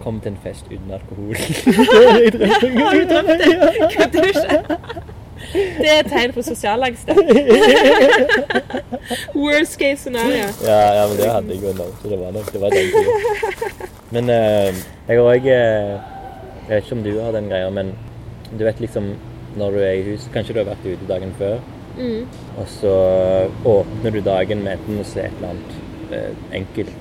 Kom til en fest uten alkohol. <laughs>
Kødder du ikke? Det er et tegn på sosial <laughs> angst. det. Worst case scenario.
ja, ja, men det hadde jeg jo nå, så det var nok det var
<laughs>
den tida. Men eh, jeg har òg Jeg vet ikke om du har den greia, men du vet liksom når du er i hus Kanskje du har vært ute dagen før,
Mm.
og så åpner du dagen med enten å se et eller annet eh, enkelt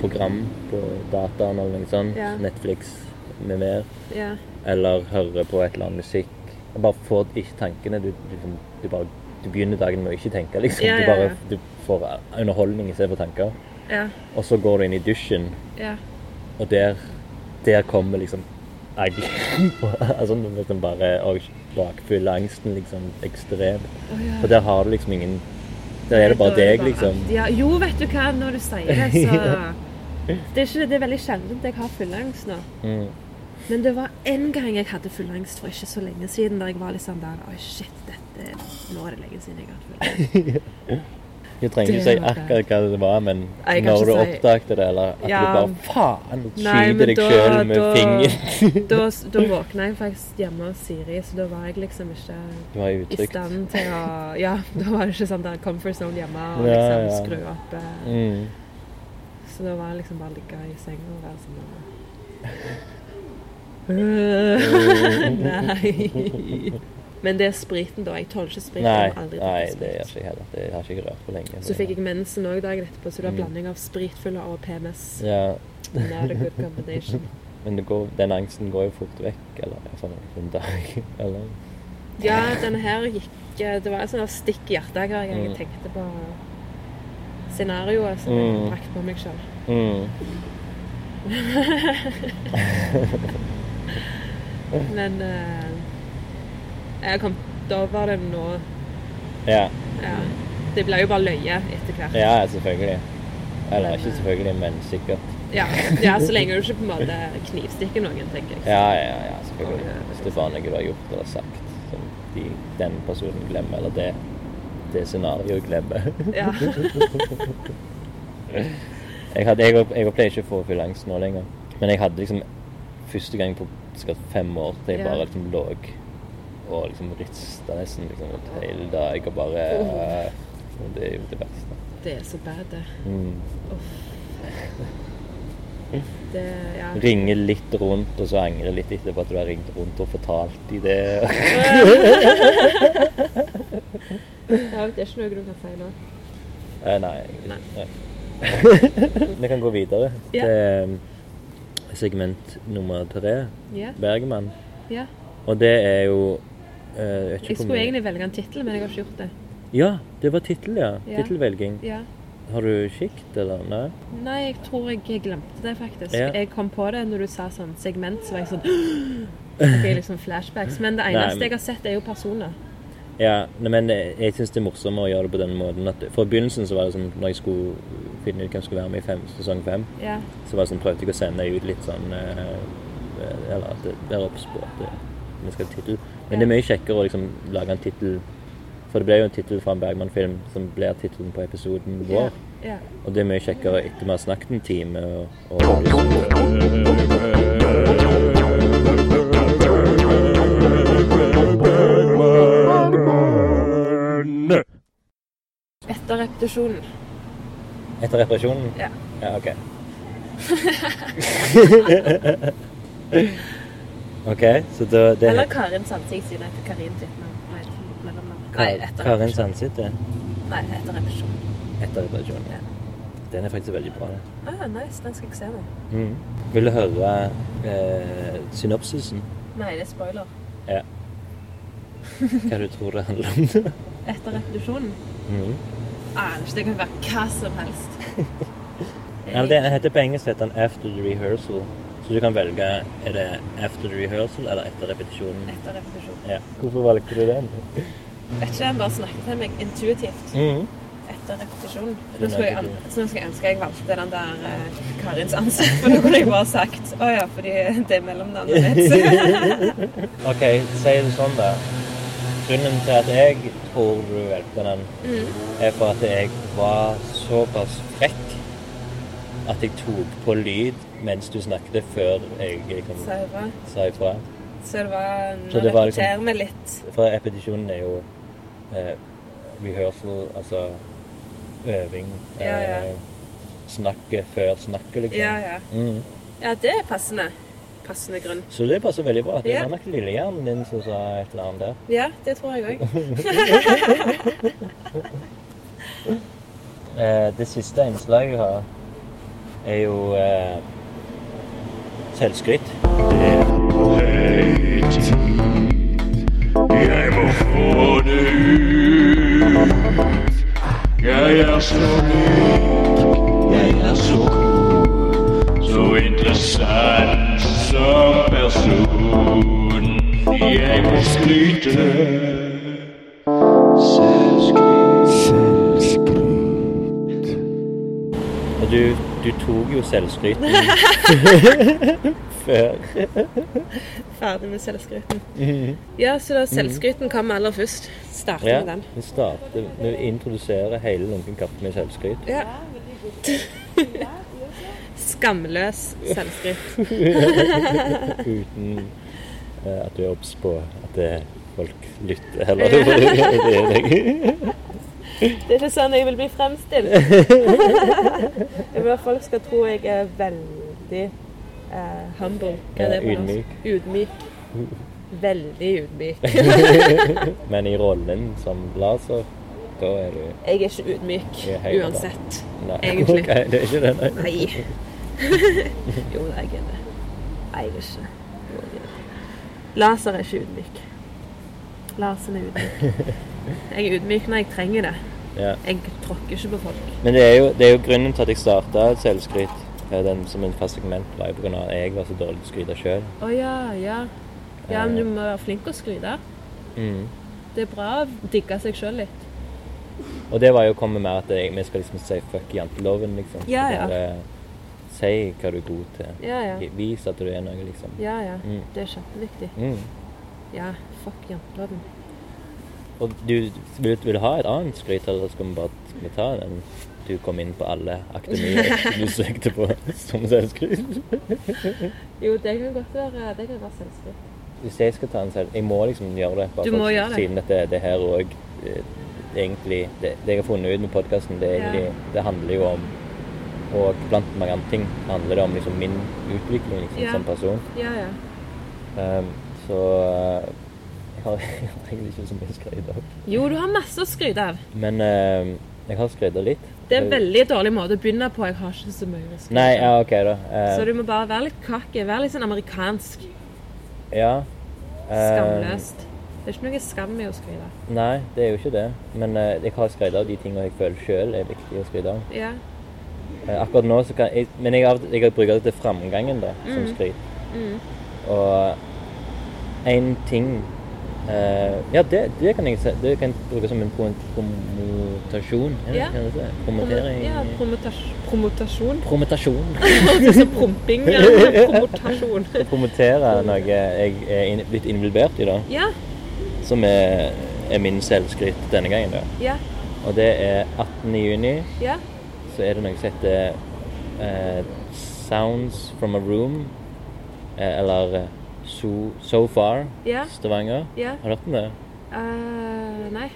program på dataen eller noe sånt,
Ja.
Netflix med mer,
Ja.
eller høre på et eller annet musikk. Og bare få ikke tankene du, du, liksom- du, bare, du begynner dagen med å ikke tenke, liksom.
Ja,
Du,
ja,
bare,
ja.
du får underholdning istedenfor tanker.
Ja.
Og så går du inn i dusjen,
ja.
og der, der kommer liksom angsten <laughs> på altså, du vet, den bare og bakfyller angsten liksom ekstremt. For der har du liksom ingen Der er det bare
Da
deg, liksom.
Ja, jo, vet du hva, når du sier
<laughs>
det, så Det er, ikke, det er veldig sjeldent jeg har fullangst nå.
Mm.
Men det var en gang jeg hadde fullangst for ikke så lenge siden, da jeg var litt sånn der Oi, shit, dette Nå er det lenge siden jeg har hatt fullangst.
Du trenger ikke
Det
si
var
akkurat hva det var, men
Nei, jeg kan
når
ikke
du
si-
oppdaget det, eller at
Ja.
du bare faen
Nei, men
skyter deg
da-
sjøl med
da-
fingeren <laughs>
Da, da våkna jeg faktisk hjemme hos Siri, så da var jeg liksom ikke
Det var
i
utrygt.
stand til å Ja, <laughs> da var det ikke sånn der comfort zone hjemme og
Ja,
liksom
ja.
skru opp. eh.
Mm.
Så da var det liksom bare å ligge i senga og være sånn der. Øh,
<laughs>
Nei. Men det er spriten, da. Jeg tåler ikke sprit. jeg
Nei,
har aldri
nei,
drukket
det
sprit.
gjør ikke jeg heller. Det har ikke jeg rørt på lenge.
Så fikk jeg mensen òg dagen etterpå, så det var
Mm.
blanding av spritfyller og PMS. <laughs>
ja.
Not a good combination.
Men det går, den angsten går jo fort vekk, eller sånn en dag, <laughs> eller
Ja, denne her gikk eh, Det var et sånt stikk i hjertet hver gang jeg
Mm.
tenkte på scenarioet som jeg
Mm.
brakte på meg sjøl.
mm.
Men eh, jeg kom over det nå.
Ja,
Ja. Det ble jo bare løye etter hvert.
ja, selvfølgelig. Eller ikke selvfølgelig, men sikkert.
Ja. ja, Så lenge du ikke på en måte knivstikker noen, tenker jeg.
Ja, ja, ja, selvfølgelig. Hvis det var noe du har gjort eller sagt som de, den personen glemmer, eller det, det scenarioet glemmer. <laughs>
Ja.
Jeg, hadde, jeg, opp- jeg pleier ikke å få full angst nå lenger. Men jeg hadde liksom første gang på sikkert fem år til jeg
Ja.
bare liksom lå og liksom rista nesten liksom, rundt hele dag og bare øh, og Det er jo det verste.
Det er så bad, det.
Mm.
det ja.
Ringe litt rundt, og så angre litt etterpå at du har ringt rundt og fortalt de det.
Ja, det er ikke noe du kan si nå.
Eh, nei. nei. <laughs> Vi kan gå videre
Ja.
til ehm, segment nummer tre,
Ja.
Bergman.
ja.
Og det er jo eh, jeg vet ikke
Jeg
hvor
skulle
mye-
egentlig velge en tittel, men jeg har ikke gjort det.
Ja, det var tittel, ja.
Ja.
Tittelvelging.
Ja.
Har du kikt, eller? Nei?
Nei, jeg tror jeg glemte det, faktisk.
Ja.
Jeg kom på det når du sa sånn segment, så var jeg sånn
<gasps>
Fikk jeg liksom flashbacks. Men det
Nei,
eneste
men-
jeg har sett, er jo personer.
Ja, nei, men jeg, jeg syns det er morsommere å gjøre det på den måten. At, for i begynnelsen så var det sånn, når jeg skulle finne ut hvem som skulle være med i fem, sesong fem,
Ja.
så var det sånn, prøvde jeg å sende ut litt sånn eh, Eller at det er obs på at det- vi skal ha tittel. Men det er mye kjekkere å liksom lage en tittel For det ble jo en tittel fra en Bergman-film som blir tittelen på episoden vår.
ja.
Og det er mye kjekkere etter vi har snakket en time og, og
Etter repetisjonen.
Etter reparasjonen?
Ja.
Ja,
<laughs>
ok. ok, så da det
Eller Karin Sandvik, siden jeg heter Karin Titman. Nei, mellomnavn. Nei, etter
Karin
repetisjonen.
Sandsitte.
Nei, etter repetisjonen.
Etter reparasjonen.
Ja.
Den er faktisk veldig bra. den.
Ah, nice. Den skal jeg se nå.
Vil du høre eh, synopsisen?
Nei, det er spoiler.
Ja. <laughs> Hva du tror det handler om?
Etter repetisjonen?
Mhm.
Aner ikke. Det kan være hva som helst.
<laughs> Ja, det heter på engelsk heter den After the Rehearsal. Så du kan velge er det After the Rehearsal eller etter repetisjonen.
Etter repetisjonen.
Ja. Hvorfor valgte du den?
Vet ikke, han bare snakket til meg intuitivt
Mhm.
etter repetisjonen. Nå skulle jeg, an- så nå skulle jeg ønske jeg valgte den der eh, Karins ansikt, for nå kunne jeg bare sagt å ja, fordi det er mellomnavnet
<laughs>
mitt.
Ok, si det sånn da. Grunnen til at jeg tror du valgte den, er for at jeg var såpass frekk at jeg tok på lyd mens du snakket før jeg liksom,
sa jeg bra.
sa ifra.
Så det var Nå
Så det var liksom-
repeterer vi litt.
For repetisjonen er jo eh, rehearsal, altså øving.
Ja, ja.
eh, snakket før snakket, liksom.
Ja, ja.
Mm.
Ja, det er passende. Passende grunn.
Så det passer veldig bra. Det
Ja.
var nok lillehjernen din som sa et eller annet der.
Ja, det tror jeg
<laughs>
òg.
Eh, det siste innslaget jeg har, er jo eh, selvskryt.
Jeg må få det ut. Jeg er så rik, jeg er så god, så interessant som person. Jeg må skryte.
Og du, du tok jo
<laughs>
selvskryten før.
Ferdig med selvskryten. Ja, så da selvskryten kom aller først. Starte
Mhm. Ja,
med den.
vi starter med å introdusere hele Lunken kaffe med selvskryt.
Ja. Skamløs selvskryt.
Uten eh, at du er obs på at det folk lytter heller. Det er deg.
Det er ikke sånn jeg vil bli fremstilt. Jeg vil at folk skal tro jeg er veldig eh, humble. Hva er det på
Ja,
norsk? Ydmyk. Veldig ydmyk.
Men i rollen som Laser, da er du
Jeg er ikke ydmyk
Jeg er helt
uansett.
Nei, <laughs>
Egentlig.
ok, det er ikke det, nei.
Nei. jo, jeg er det. Nei, jeg er ikke Jo, jeg er det. Laser er ikke ydmyk. Larsen er ydmyk. Jeg er ydmyk når jeg trenger det.
Ja.
Jeg tråkker ikke på folk.
Men det er, jo, det er jo grunnen til at jeg starta selvskryt eh, den som en fast segment, var jo på grunn av at jeg var så dårlig til å skryte sjøl.
Å ja, ja. Ja,
Eh.
men du må være flink å skryte.
Mm.
Det er bra å digge seg sjøl litt.
Og det var jo å komme med at jeg, vi skal liksom si fuck janteloven, liksom.
Ja, ja.
Bare si hva du er god til.
Ja, ja.
Vis at du er noe, liksom.
Ja, ja.
Mm.
Det er kjempeviktig.
Mm.
Ja, fuck janteloven.
Og du vil, vil du ha et annet skryt, eller skal vi bare skal vi ta den du kom inn på alle akademier
<laughs>
du søkte på som selvskryt?
Jo, det kan godt være Det kan være selvskryt.
Hvis jeg skal ta en selv Jeg må liksom gjøre det. Bare
Du må
for-
gjøre det.
Siden dette det her òg egentlig det, det jeg har funnet ut med podkasten, det, er egentlig, det handler jo om Og blant mange andre ting handler det om liksom min utvikling liksom,
Ja.
som person.
Ja, ja.
Ehm, så eh, jeg har <laughs> jeg har egentlig ikke så mye skryt av.
Jo, du har masse å skryte av.
Men ehm, jeg har skrytt litt.
Det er en veldig dårlig måte å begynne på. Jeg har ikke så mye å skryte
Nei,
av.
ja, OK, da. Eh,
Så du må bare være litt kake. Være litt sånn amerikansk.
Ja. Eh,
Skamløst. Det er ikke noe skam i å skrive.
nei, det er jo ikke det. Men eh, jeg har skrevet av de tingene jeg føler sjøl er viktig å skryte av.
Ja.
Eh, akkurat nå så kan jeg Men jeg, har- jeg har brukt det til framgangen, da, som
Mm.
skryt. Og én ting eh, Ja, det, det kan jeg se- Det kan jeg bruke som en pro- promotasjon. er det-
Ja.
kan jeg si?
Promo-
Promotering
ja promotas- promotasjon.
Promotasjon.
Sånn promping
<laughs>
eller promotasjon. <laughs>
Å promotere noe jeg er inn- blitt involvert i, da.
Ja.
Som er, er min selvskryt denne gangen, da.
Ja.
Og det er 18. juni.
Ja.
så er det noe som heter eh, Sounds from a Room, eh, eller eh, so, so Far,
Ja.
Stavanger.
Ja.
Har du hørt om det?
Eh, nei.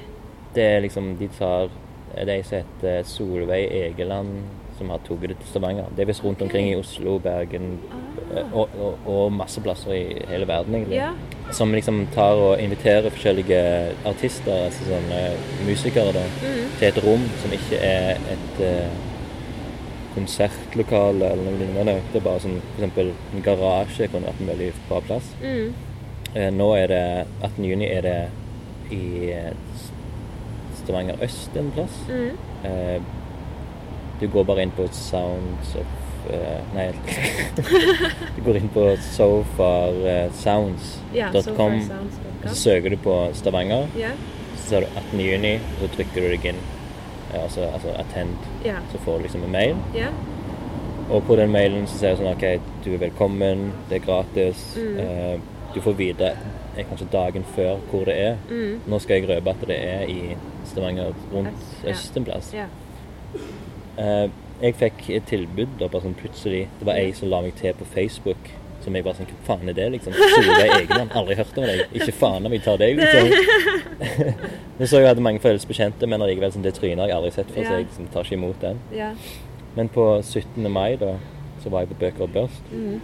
Det er liksom, de tar eh, de som heter Solveig Egeland, som har tatt det til Stavanger. Det er visst rundt omkring i Oslo, Bergen eh, og, og, og masse plasser i hele verden,
Ah.
egentlig.
Ja.
Som liksom tar og inviterer forskjellige artister, altså sånne musikere, da,
Mm.
til et rom som ikke er et eh, konsertlokale eller noe lignende. Det er bare sånn for eksempel en garasje kunne vært en veldig bra plass.
Mm.
Eh, nå er det 18. juni er det i eh, S- Stavanger øst en plass.
Mm.
Eh, du går bare inn på Sounds of eh, Nei. <laughs> du går inn på eh,
ja so far
sofarsounds.com.
sounds good.
og så søker du på Stavanger,
Ja.
så ser du 18. juni, og så trykker du deg inn. Eh, Altså, altså attend.
Ja.
Så får du liksom en mail.
Ja.
Og på den mailen så sier jeg sånn OK, du er velkommen, det er gratis.
Mm.
Eh, du får vite eh, kanskje dagen før hvor det er.
Mm.
Nå skal jeg røpe at det er i Stavanger rundt
Ja.
øst en plass.
Ja.
Eh, jeg fikk et tilbud da, bare sånn plutselig. Det var ei som la meg til på Facebook. Som jeg bare sånn Hva faen er det, liksom? Solveig Egeland. Aldri hørt om deg. Ikke faen om jeg tar deg, liksom. Men så jeg hadde mange foreldres bekjente, men allikevel sånn, det trynet har jeg aldri sett før, så
Ja.
jeg liksom, tar ikke imot den.
<laughs> Ja.
Men på 17. mai, da, så var jeg på Bøker og Børst.
Mm.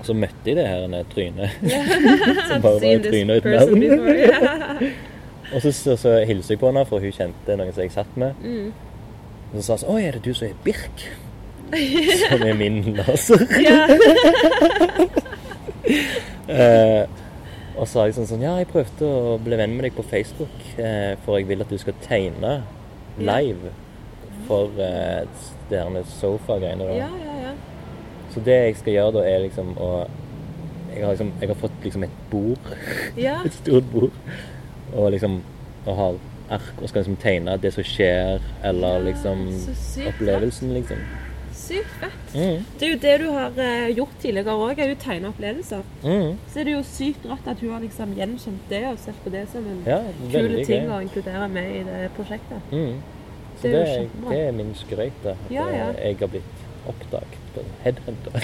Og så møtte jeg det her ene trynet. <laughs> som bare var
Seen
et
this
tryne uten
person
navn. <laughs>
before. Ja.
Og så, så, så hilste jeg på henne, for hun kjente noen som jeg satt med.
Mm.
Og så sa hun sånn Oi, er det du som er
<laughs>
Birk? Som er min laser. Eh, og så sa jeg sånn sånn Ja, jeg prøvde å bli venn med deg på Facebook, eh, for jeg vil at du skal tegne live for eh, det her med sofa-greiene. da.
ja, ja, ja.
Så det jeg skal gjøre da, er liksom å Jeg har, liksom, jeg har fått liksom et bord <laughs>
Ja,
et stort bord. Og liksom og har ark og skal liksom tegne det som skjer, eller liksom
så sykt
opplevelsen, liksom.
sykt fett.
Mm.
Det er jo det du har eh, gjort tidligere òg, er jo tegne opplevelser.
Mm.
Så er det jo sykt rått at hun har liksom gjenkjent det og sett på det som en
Ja,
kule
veldig
ting
gøy.
å inkludere med i det prosjektet.
Mm. Så
Det
det
er jo
er,
kjempebra.
det er min skrøyt, da. At
Ja, ja.
eh, jeg har blitt oppdaget på Headhunter.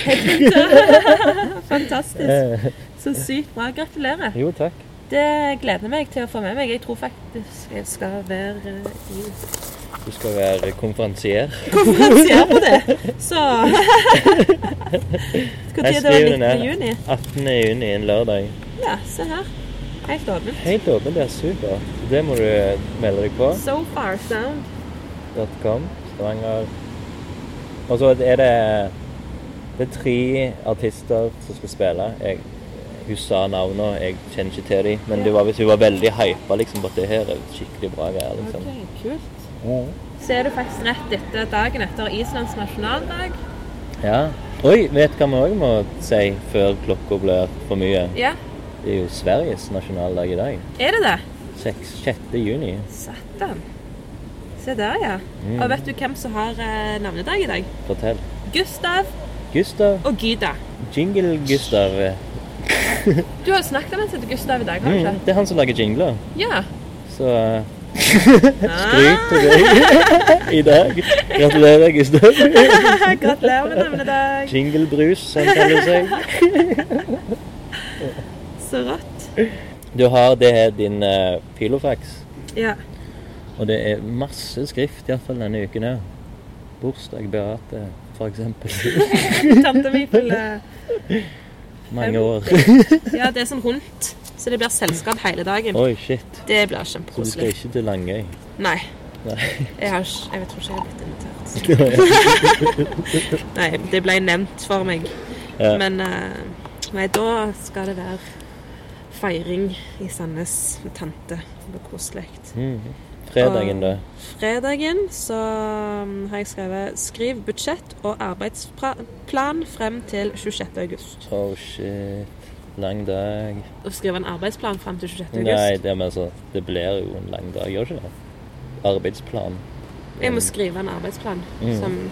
Fantastisk.
<laughs> Eh,
Så sykt bra. Gratulerer.
<laughs> jo, takk.
Det gleder meg til å få med meg. Jeg tror faktisk jeg skal være eh, i
Du skal være konferansier.
konferansier på det. Så Når
Jeg
det var
skriver den
19.
ned.
juni?
18. juni, en lørdag.
Ja, se her. Helt åpent.
Helt åpen, det er supert. Det må du melde deg på.
So far sound.
.com, Stavanger. Og så er det det er tre artister som skal spille. Jeg, hun sa navnene, jeg kjenner ikke til dem. Men det var hvis hun var veldig hypa liksom, på at det her er skikkelig bra greier.
Ok,
Liksom.
kult. Så er det faktisk rett etter dagen etter Islands nasjonaldag.
Ja. Oi, vet du hva vi òg må si før klokka blir for mye?
Ja,
Det er jo Sveriges nasjonaldag i dag.
er det det?
Seks- 6. juni.
Satan. Se der, ja.
Mm.
Og vet du hvem som har eh, navnedag i dag?
Fortell.
Gustav
Gustav.
og Gyda.
Jingle-Gustav.
Du har jo snakket om en som heter Gustav i dag, har du
Mm,
ikke?
det er han som lager jingler.
Ja.
Så eh, skryt til deg
Ah.
<laughs> i dag. Gratulerer, Gustav.
<laughs> Gratulerer med navnedag.
Jinglebrus, som det kaller seg.
Så rått.
Du har det her din eh, filofax,
Ja.
og det er masse skrift iallfall denne uken her. Bursdag Beate,
<laughs>
for eksempel.
Tante mi fyller
Mange år.
Ja, det er sånn rundt, så det blir selskap hele dagen.
Oi, shit.
Det blir
Så du skal
kjempekoselig.
ikke til Langøy?
Nei.
Nei.
Jeg, har, ikke- jeg tror ikke jeg har blitt
<laughs>
invitert. Nei, det ble nevnt for meg.
Ja.
Men eh, nei, da skal det være feiring i Sandnes med tante. Det blir koselig.
Mm. Fredagen, da.
Ah. Fredagen så mm, har jeg skrevet 'Skriv budsjett og arbeidsplan frem til 26. august'.
Oh, shit. Lang dag.
Å skrive en arbeidsplan frem til 26.
Nei,
august.
det, men altså, det blir jo en lang dag, gjør det ikke det? Arbeidsplan.
Jeg må skrive en arbeidsplan
Mm.
som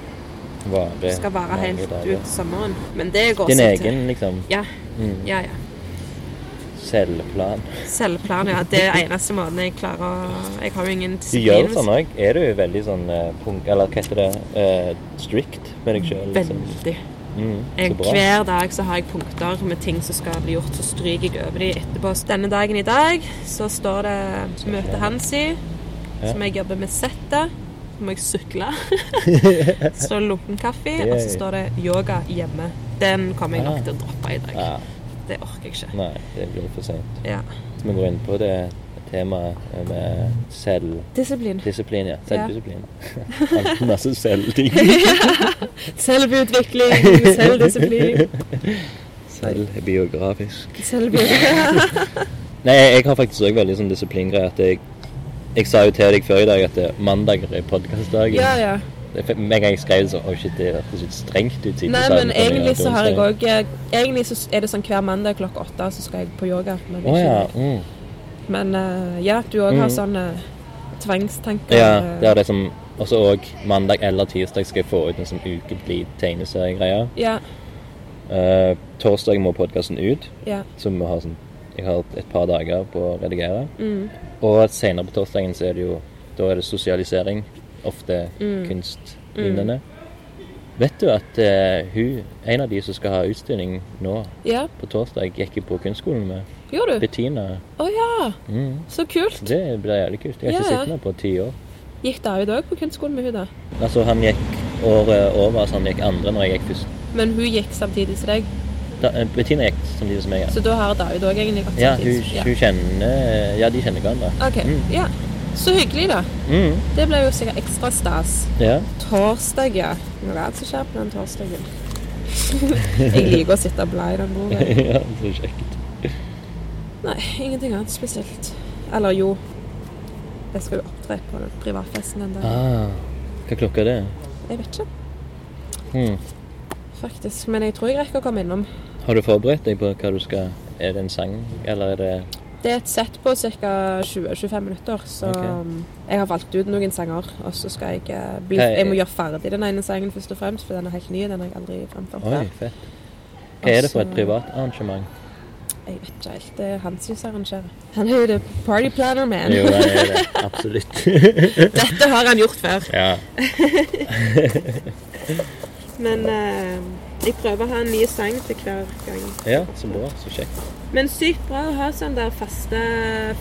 Varer
skal vare
mange
helt
dager.
ut sommeren. Men det går
Din
seg til.
egen, liksom.
Ja.
Mm.
Ja, ja.
Selvplan.
Selvplan, ja. Det er eneste måten jeg klarer å Jeg har jo ingen
Du gjør sånn òg. Er du veldig sånn eh, punk... Eller hva heter det? eh, strict med deg sjøl?
Veldig.
Mm, så
Jeg,
bra.
hver dag så har jeg punkter med ting som skal bli gjort, så stryker jeg over de etterpå. Så denne dagen i dag så står det møte Hansi,
Ja.
som jeg jobber med settet. Så må jeg sykle. <laughs> så står det lunken kaffe, og så
Yay.
står det yoga hjemme. Den kommer jeg
Ah.
nok til å droppe i dag.
<laughs> Ja,
Det orker jeg ikke.
nei, det blir for seint.
Ja.
Så vi går inn på det temaet med selvdisiplin.
Disiplin.
Ja. Selvdisiplin. <laughs> Alt masse selvting. <laughs>
Selvutvikling, <laughs> selvdisiplin.
Selvbiografisk.
Selvutvikling.
Nei, jeg har faktisk òg veldig sånn disiplingreie at jeg jeg sa jo til deg før i dag at eh, mandager er podkastdagen.
Ja, ja.
Det- Med en gang jeg skrev det, så oh shit, det hørtes litt strengt ut. siden
Nei,
du sa
men
sånn det på
egentlig så har jeg
onsdag.
òg Egentlig så er det sånn hver mandag klokka åtte så skal jeg på yoga. Men,
Å ja.
ikke-
Mm.
men eh, ja, du òg har
Mm.
sånne eh, tvangstanker.
Ja,
eh,
det er det som også og mandag eller tirsdag skal jeg få ut en sånn ukentlig tegneseriegreie.
ja,
Eh, torsdag må podkasten ut,
ja.
så vi har sånn Jeg har et par dager på å redigere.
Mm.
Og senere
Mm.
på torsdagen så er det jo Da er det sosialisering. Ofte kunstlignende. Vet du at eh, hun, en av de som skal ha utstilling nå
Ja,
på torsdag, gikk jeg på kunstskolen med?
gjorde du?
Bettina.
Å ja,
Mm.
så kult.
Det blir jævlig kult. Jeg har ikke
Ja, ja.
sett henne på ti år.
Gikk David òg på kunstskolen med hun da?
Altså, han gikk året over, så han gikk andre når jeg gikk først.
Men hun gikk samtidig som deg,
Da, eh, Bettina gikk samtidig som jeg.
så da har David òg egentlig gått
Ja, ja hun,
samtidig. som-
hun kjenner Ja, de kjenner hverandre.
Ok,
Mm.
ja. Så hyggelig, da.
Mm.
Det ble jo sikkert ekstra stas.
Ja. <laughs>
Torsdag, ja. Noe annet som skjer på den torsdagen. <laughs> jeg liker å sitte og bla i den bordet.
ja, så kjekt.
Nei, ingenting annet spesielt. Eller jo. Jeg skal jo opptre på den privatfesten den dagen.
Ah, hva klokka er det?
Jeg vet ikke,
Mm.
faktisk. Men jeg tror jeg rekker å komme innom.
Har du forberedt deg på hva du skal Er det en sang, eller er det
Det er et sett på ca. 20-25 minutter, så
Ok.
um, jeg har valgt ut noen sanger. Og så skal jeg eh, bli
Hva er-
Jeg må gjøre ferdig den ene sangen først og fremst, for den er helt ny. Den har jeg aldri framført
Oi,
før.
fett. Hva er det for et
Altså-
privat arrangement?
Jeg vet ikke helt. Det er han som arrangerer. Han er jo the party planner, man.
Jo, det er det. Absolutt.
<laughs> Dette har han gjort før.
ja.
Men eh, jeg prøver å ha en ny sang til hver gang.
ja, så bra. Så kjekt.
Men sykt bra å ha sånne der faste,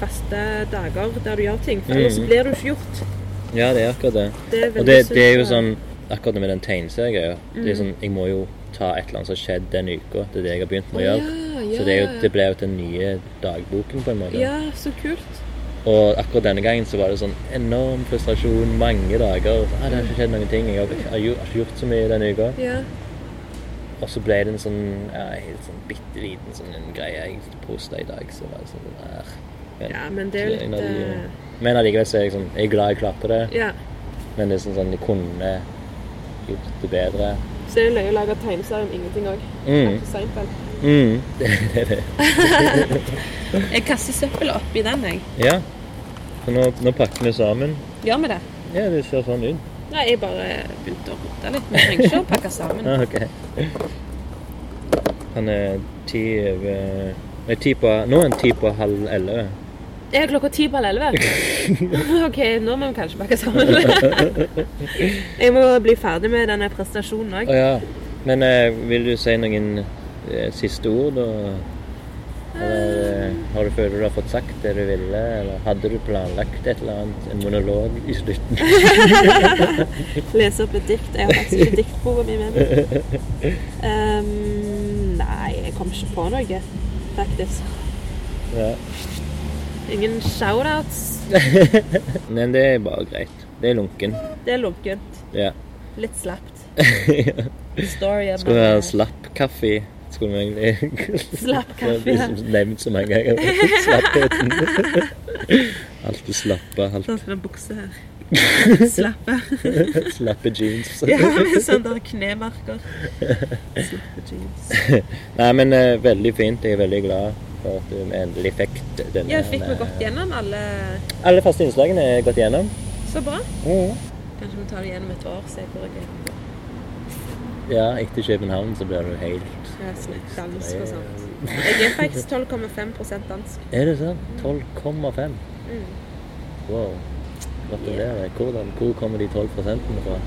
faste dager der du gjør ting, for ellers blir du ikke gjort.
Ja, det er akkurat det.
Det er
Mm. Og
veldig
det,
sunt,
det er jo
eh,
sånn Akkurat med den tegneseriegreia. Det er sånn, jeg må jo ta et eller annet som har skjedd den uka. Det er det jeg har begynt med å gjøre.
ja,
Så det, er jo,
ja.
det ble jo den nye dagboken, på en måte.
Ja, så kult.
Og akkurat denne gangen så var det sånn enorm frustrasjon mange dager. Ah, 'Det har ikke skjedd noen ting. Jeg har ikke, jeg har jo- har ikke gjort så mye denne uka.'
Ja.
Og så ble det en sånn ja, helt sånn bitte liten sånn en greie jeg posta i dag, så var det sånn der.
ja, men det er jo
En
litt
av de,
eh,
Men allikevel så er jeg sånn Jeg er glad jeg klarte det,
Ja.
men det er sånn sånn Jeg kunne gjort det bedre.
Så det er jo løye å lage tegneserier om ingenting òg.
Mm.
<laughs>
Mm. Det er det.
Jeg kaster søppelet oppi den, jeg.
Ja. Så nå, nå pakker vi sammen.
Gjør vi det?
Ja, det ser sånn ut. <laughs>
Nei, jeg bare begynte å rote litt. Vi trenger ikke å pakke sammen.
<laughs> Ah, ok. Han er ti over Nei, ti på Nå er han ti på halv elleve.
Er klokka ti på halv elleve?
<laughs>
OK, nå må vi kanskje pakke sammen. jeg må bli ferdig med denne prestasjonen
Å
òg.
ja. Men eh, vil du si noen eh, siste ord, da? Eller eh, har du føler du har fått sagt det du ville? Eller hadde du planlagt et eller annet? En monolog i slutten? <laughs>
Lese opp et dikt. Jeg har faktisk ikke diktboka mi med meg.
<laughs>
Ehm, nei, jeg kom ikke på noe, faktisk.
Ja.
Ingen shoutouts.
Men det er bare greit. Det er lunken.
Det er lunkent.
Ja.
Litt <laughs> slapt.
Ja.
Story om
Skulle vi
at-
ha slapp kaffe? Skulle vi egentlig <laughs>
Slapp
Det har
kaffe, ja.
liksom nevnt så mange ganger. Slappheten. Alt er slappa. Alt
Sånn som den buksa <laughs> her. Slappe.
slappe jeans.
<laughs> Ja, sånn der knemerker. Slappe jeans.
Nei, men eh, veldig fint. Jeg er veldig glad for at du endelig fikk denne eh,
Ja, fikk vi gått gjennom alle
Alle faste innslagene er gått gjennom.
Så bra. Mm.
Mhm.
Kanskje vi tar det gjennom et år, se hvor jeg er.
Ja, etter København så blir du helt
Jeg snakker dansk og sånt. Jeg er faktisk 12,5 dansk.
Er det sant? 12,5? Wow. Gratulerer. Hvordan, hvor kommer de 12 prosentene fra?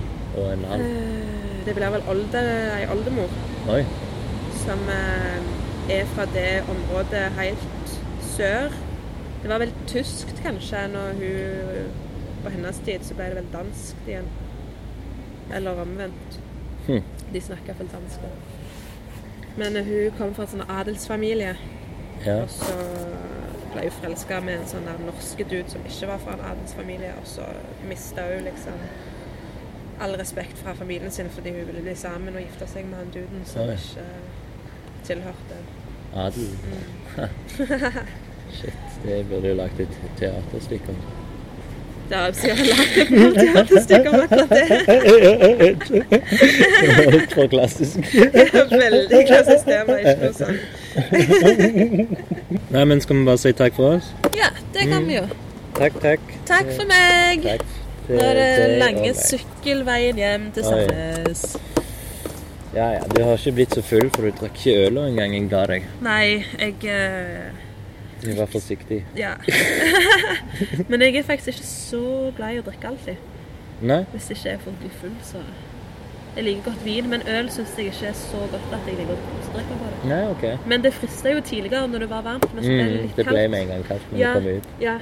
Og en halv?
Eh, Det blir vel older, ei oldemor
Oi.
som eh, er fra det området helt sør. Det var vel tyskt kanskje når hun På hennes tid så ble det vel danskt igjen. Eller omvendt.
Hm.
De snakker vel dansk. da. Men eh, hun kom fra en sånn adelsfamilie.
Ja.
Og så ble hun forelska med en sånn der norske dude som ikke var fra en adelsfamilie, og så mista hun liksom all respekt fra familien sin fordi hun ville bli sammen og gifte seg med han duden som
Oi.
ikke tilhørte
Adel.
Mm.
Shit, det burde jo lagt et teaterstykke om.
Det har jeg sikkert lagt et par teaterstykker om akkurat det.
For klassisk.
Veldig klassisk tema, ikke noe sånn.
Nei, men skal vi bare si takk for oss?
Ja, det kan vi jo.
Takk, takk.
Takk for meg.
Takk.
Nå er det lange
sukk.
sykkelveien hjem til
Oi.
Sandnes.
Ja, ja. Du har ikke blitt så full, for du drakk ikke øl engang jeg ga deg.
Nei, jeg eh,
Du var forsiktig.
Ja. <laughs> Men jeg er faktisk ikke så glad i å drikke alltid.
Nei?
Hvis ikke jeg er for å bli full, så Jeg liker godt vin, men øl syns jeg ikke er så godt at jeg liker å kosedrikke på det.
Nei, OK.
Men det frista jo tidligere når det var varmt. Men så ble det
Mm,
litt
det ble
kaldt.
med en gang kaldt når
Ja.
vi kom ut.
Ja.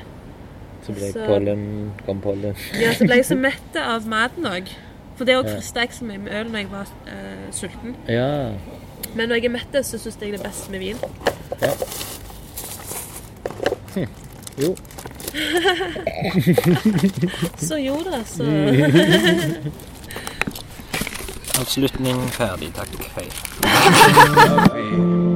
Så ble
Så-
pollen, kom pollen.
ja, så ble jeg så mett av maten òg. For
<laughs>
det òg
Ja.
frista jeg så mye med øl når jeg var eh, sulten.
Ja.
Men når jeg er mett, så syns jeg det er best med vin.
Jo.
Så gjorde det, så
<laughs> Avslutning ferdig, takk. Hei.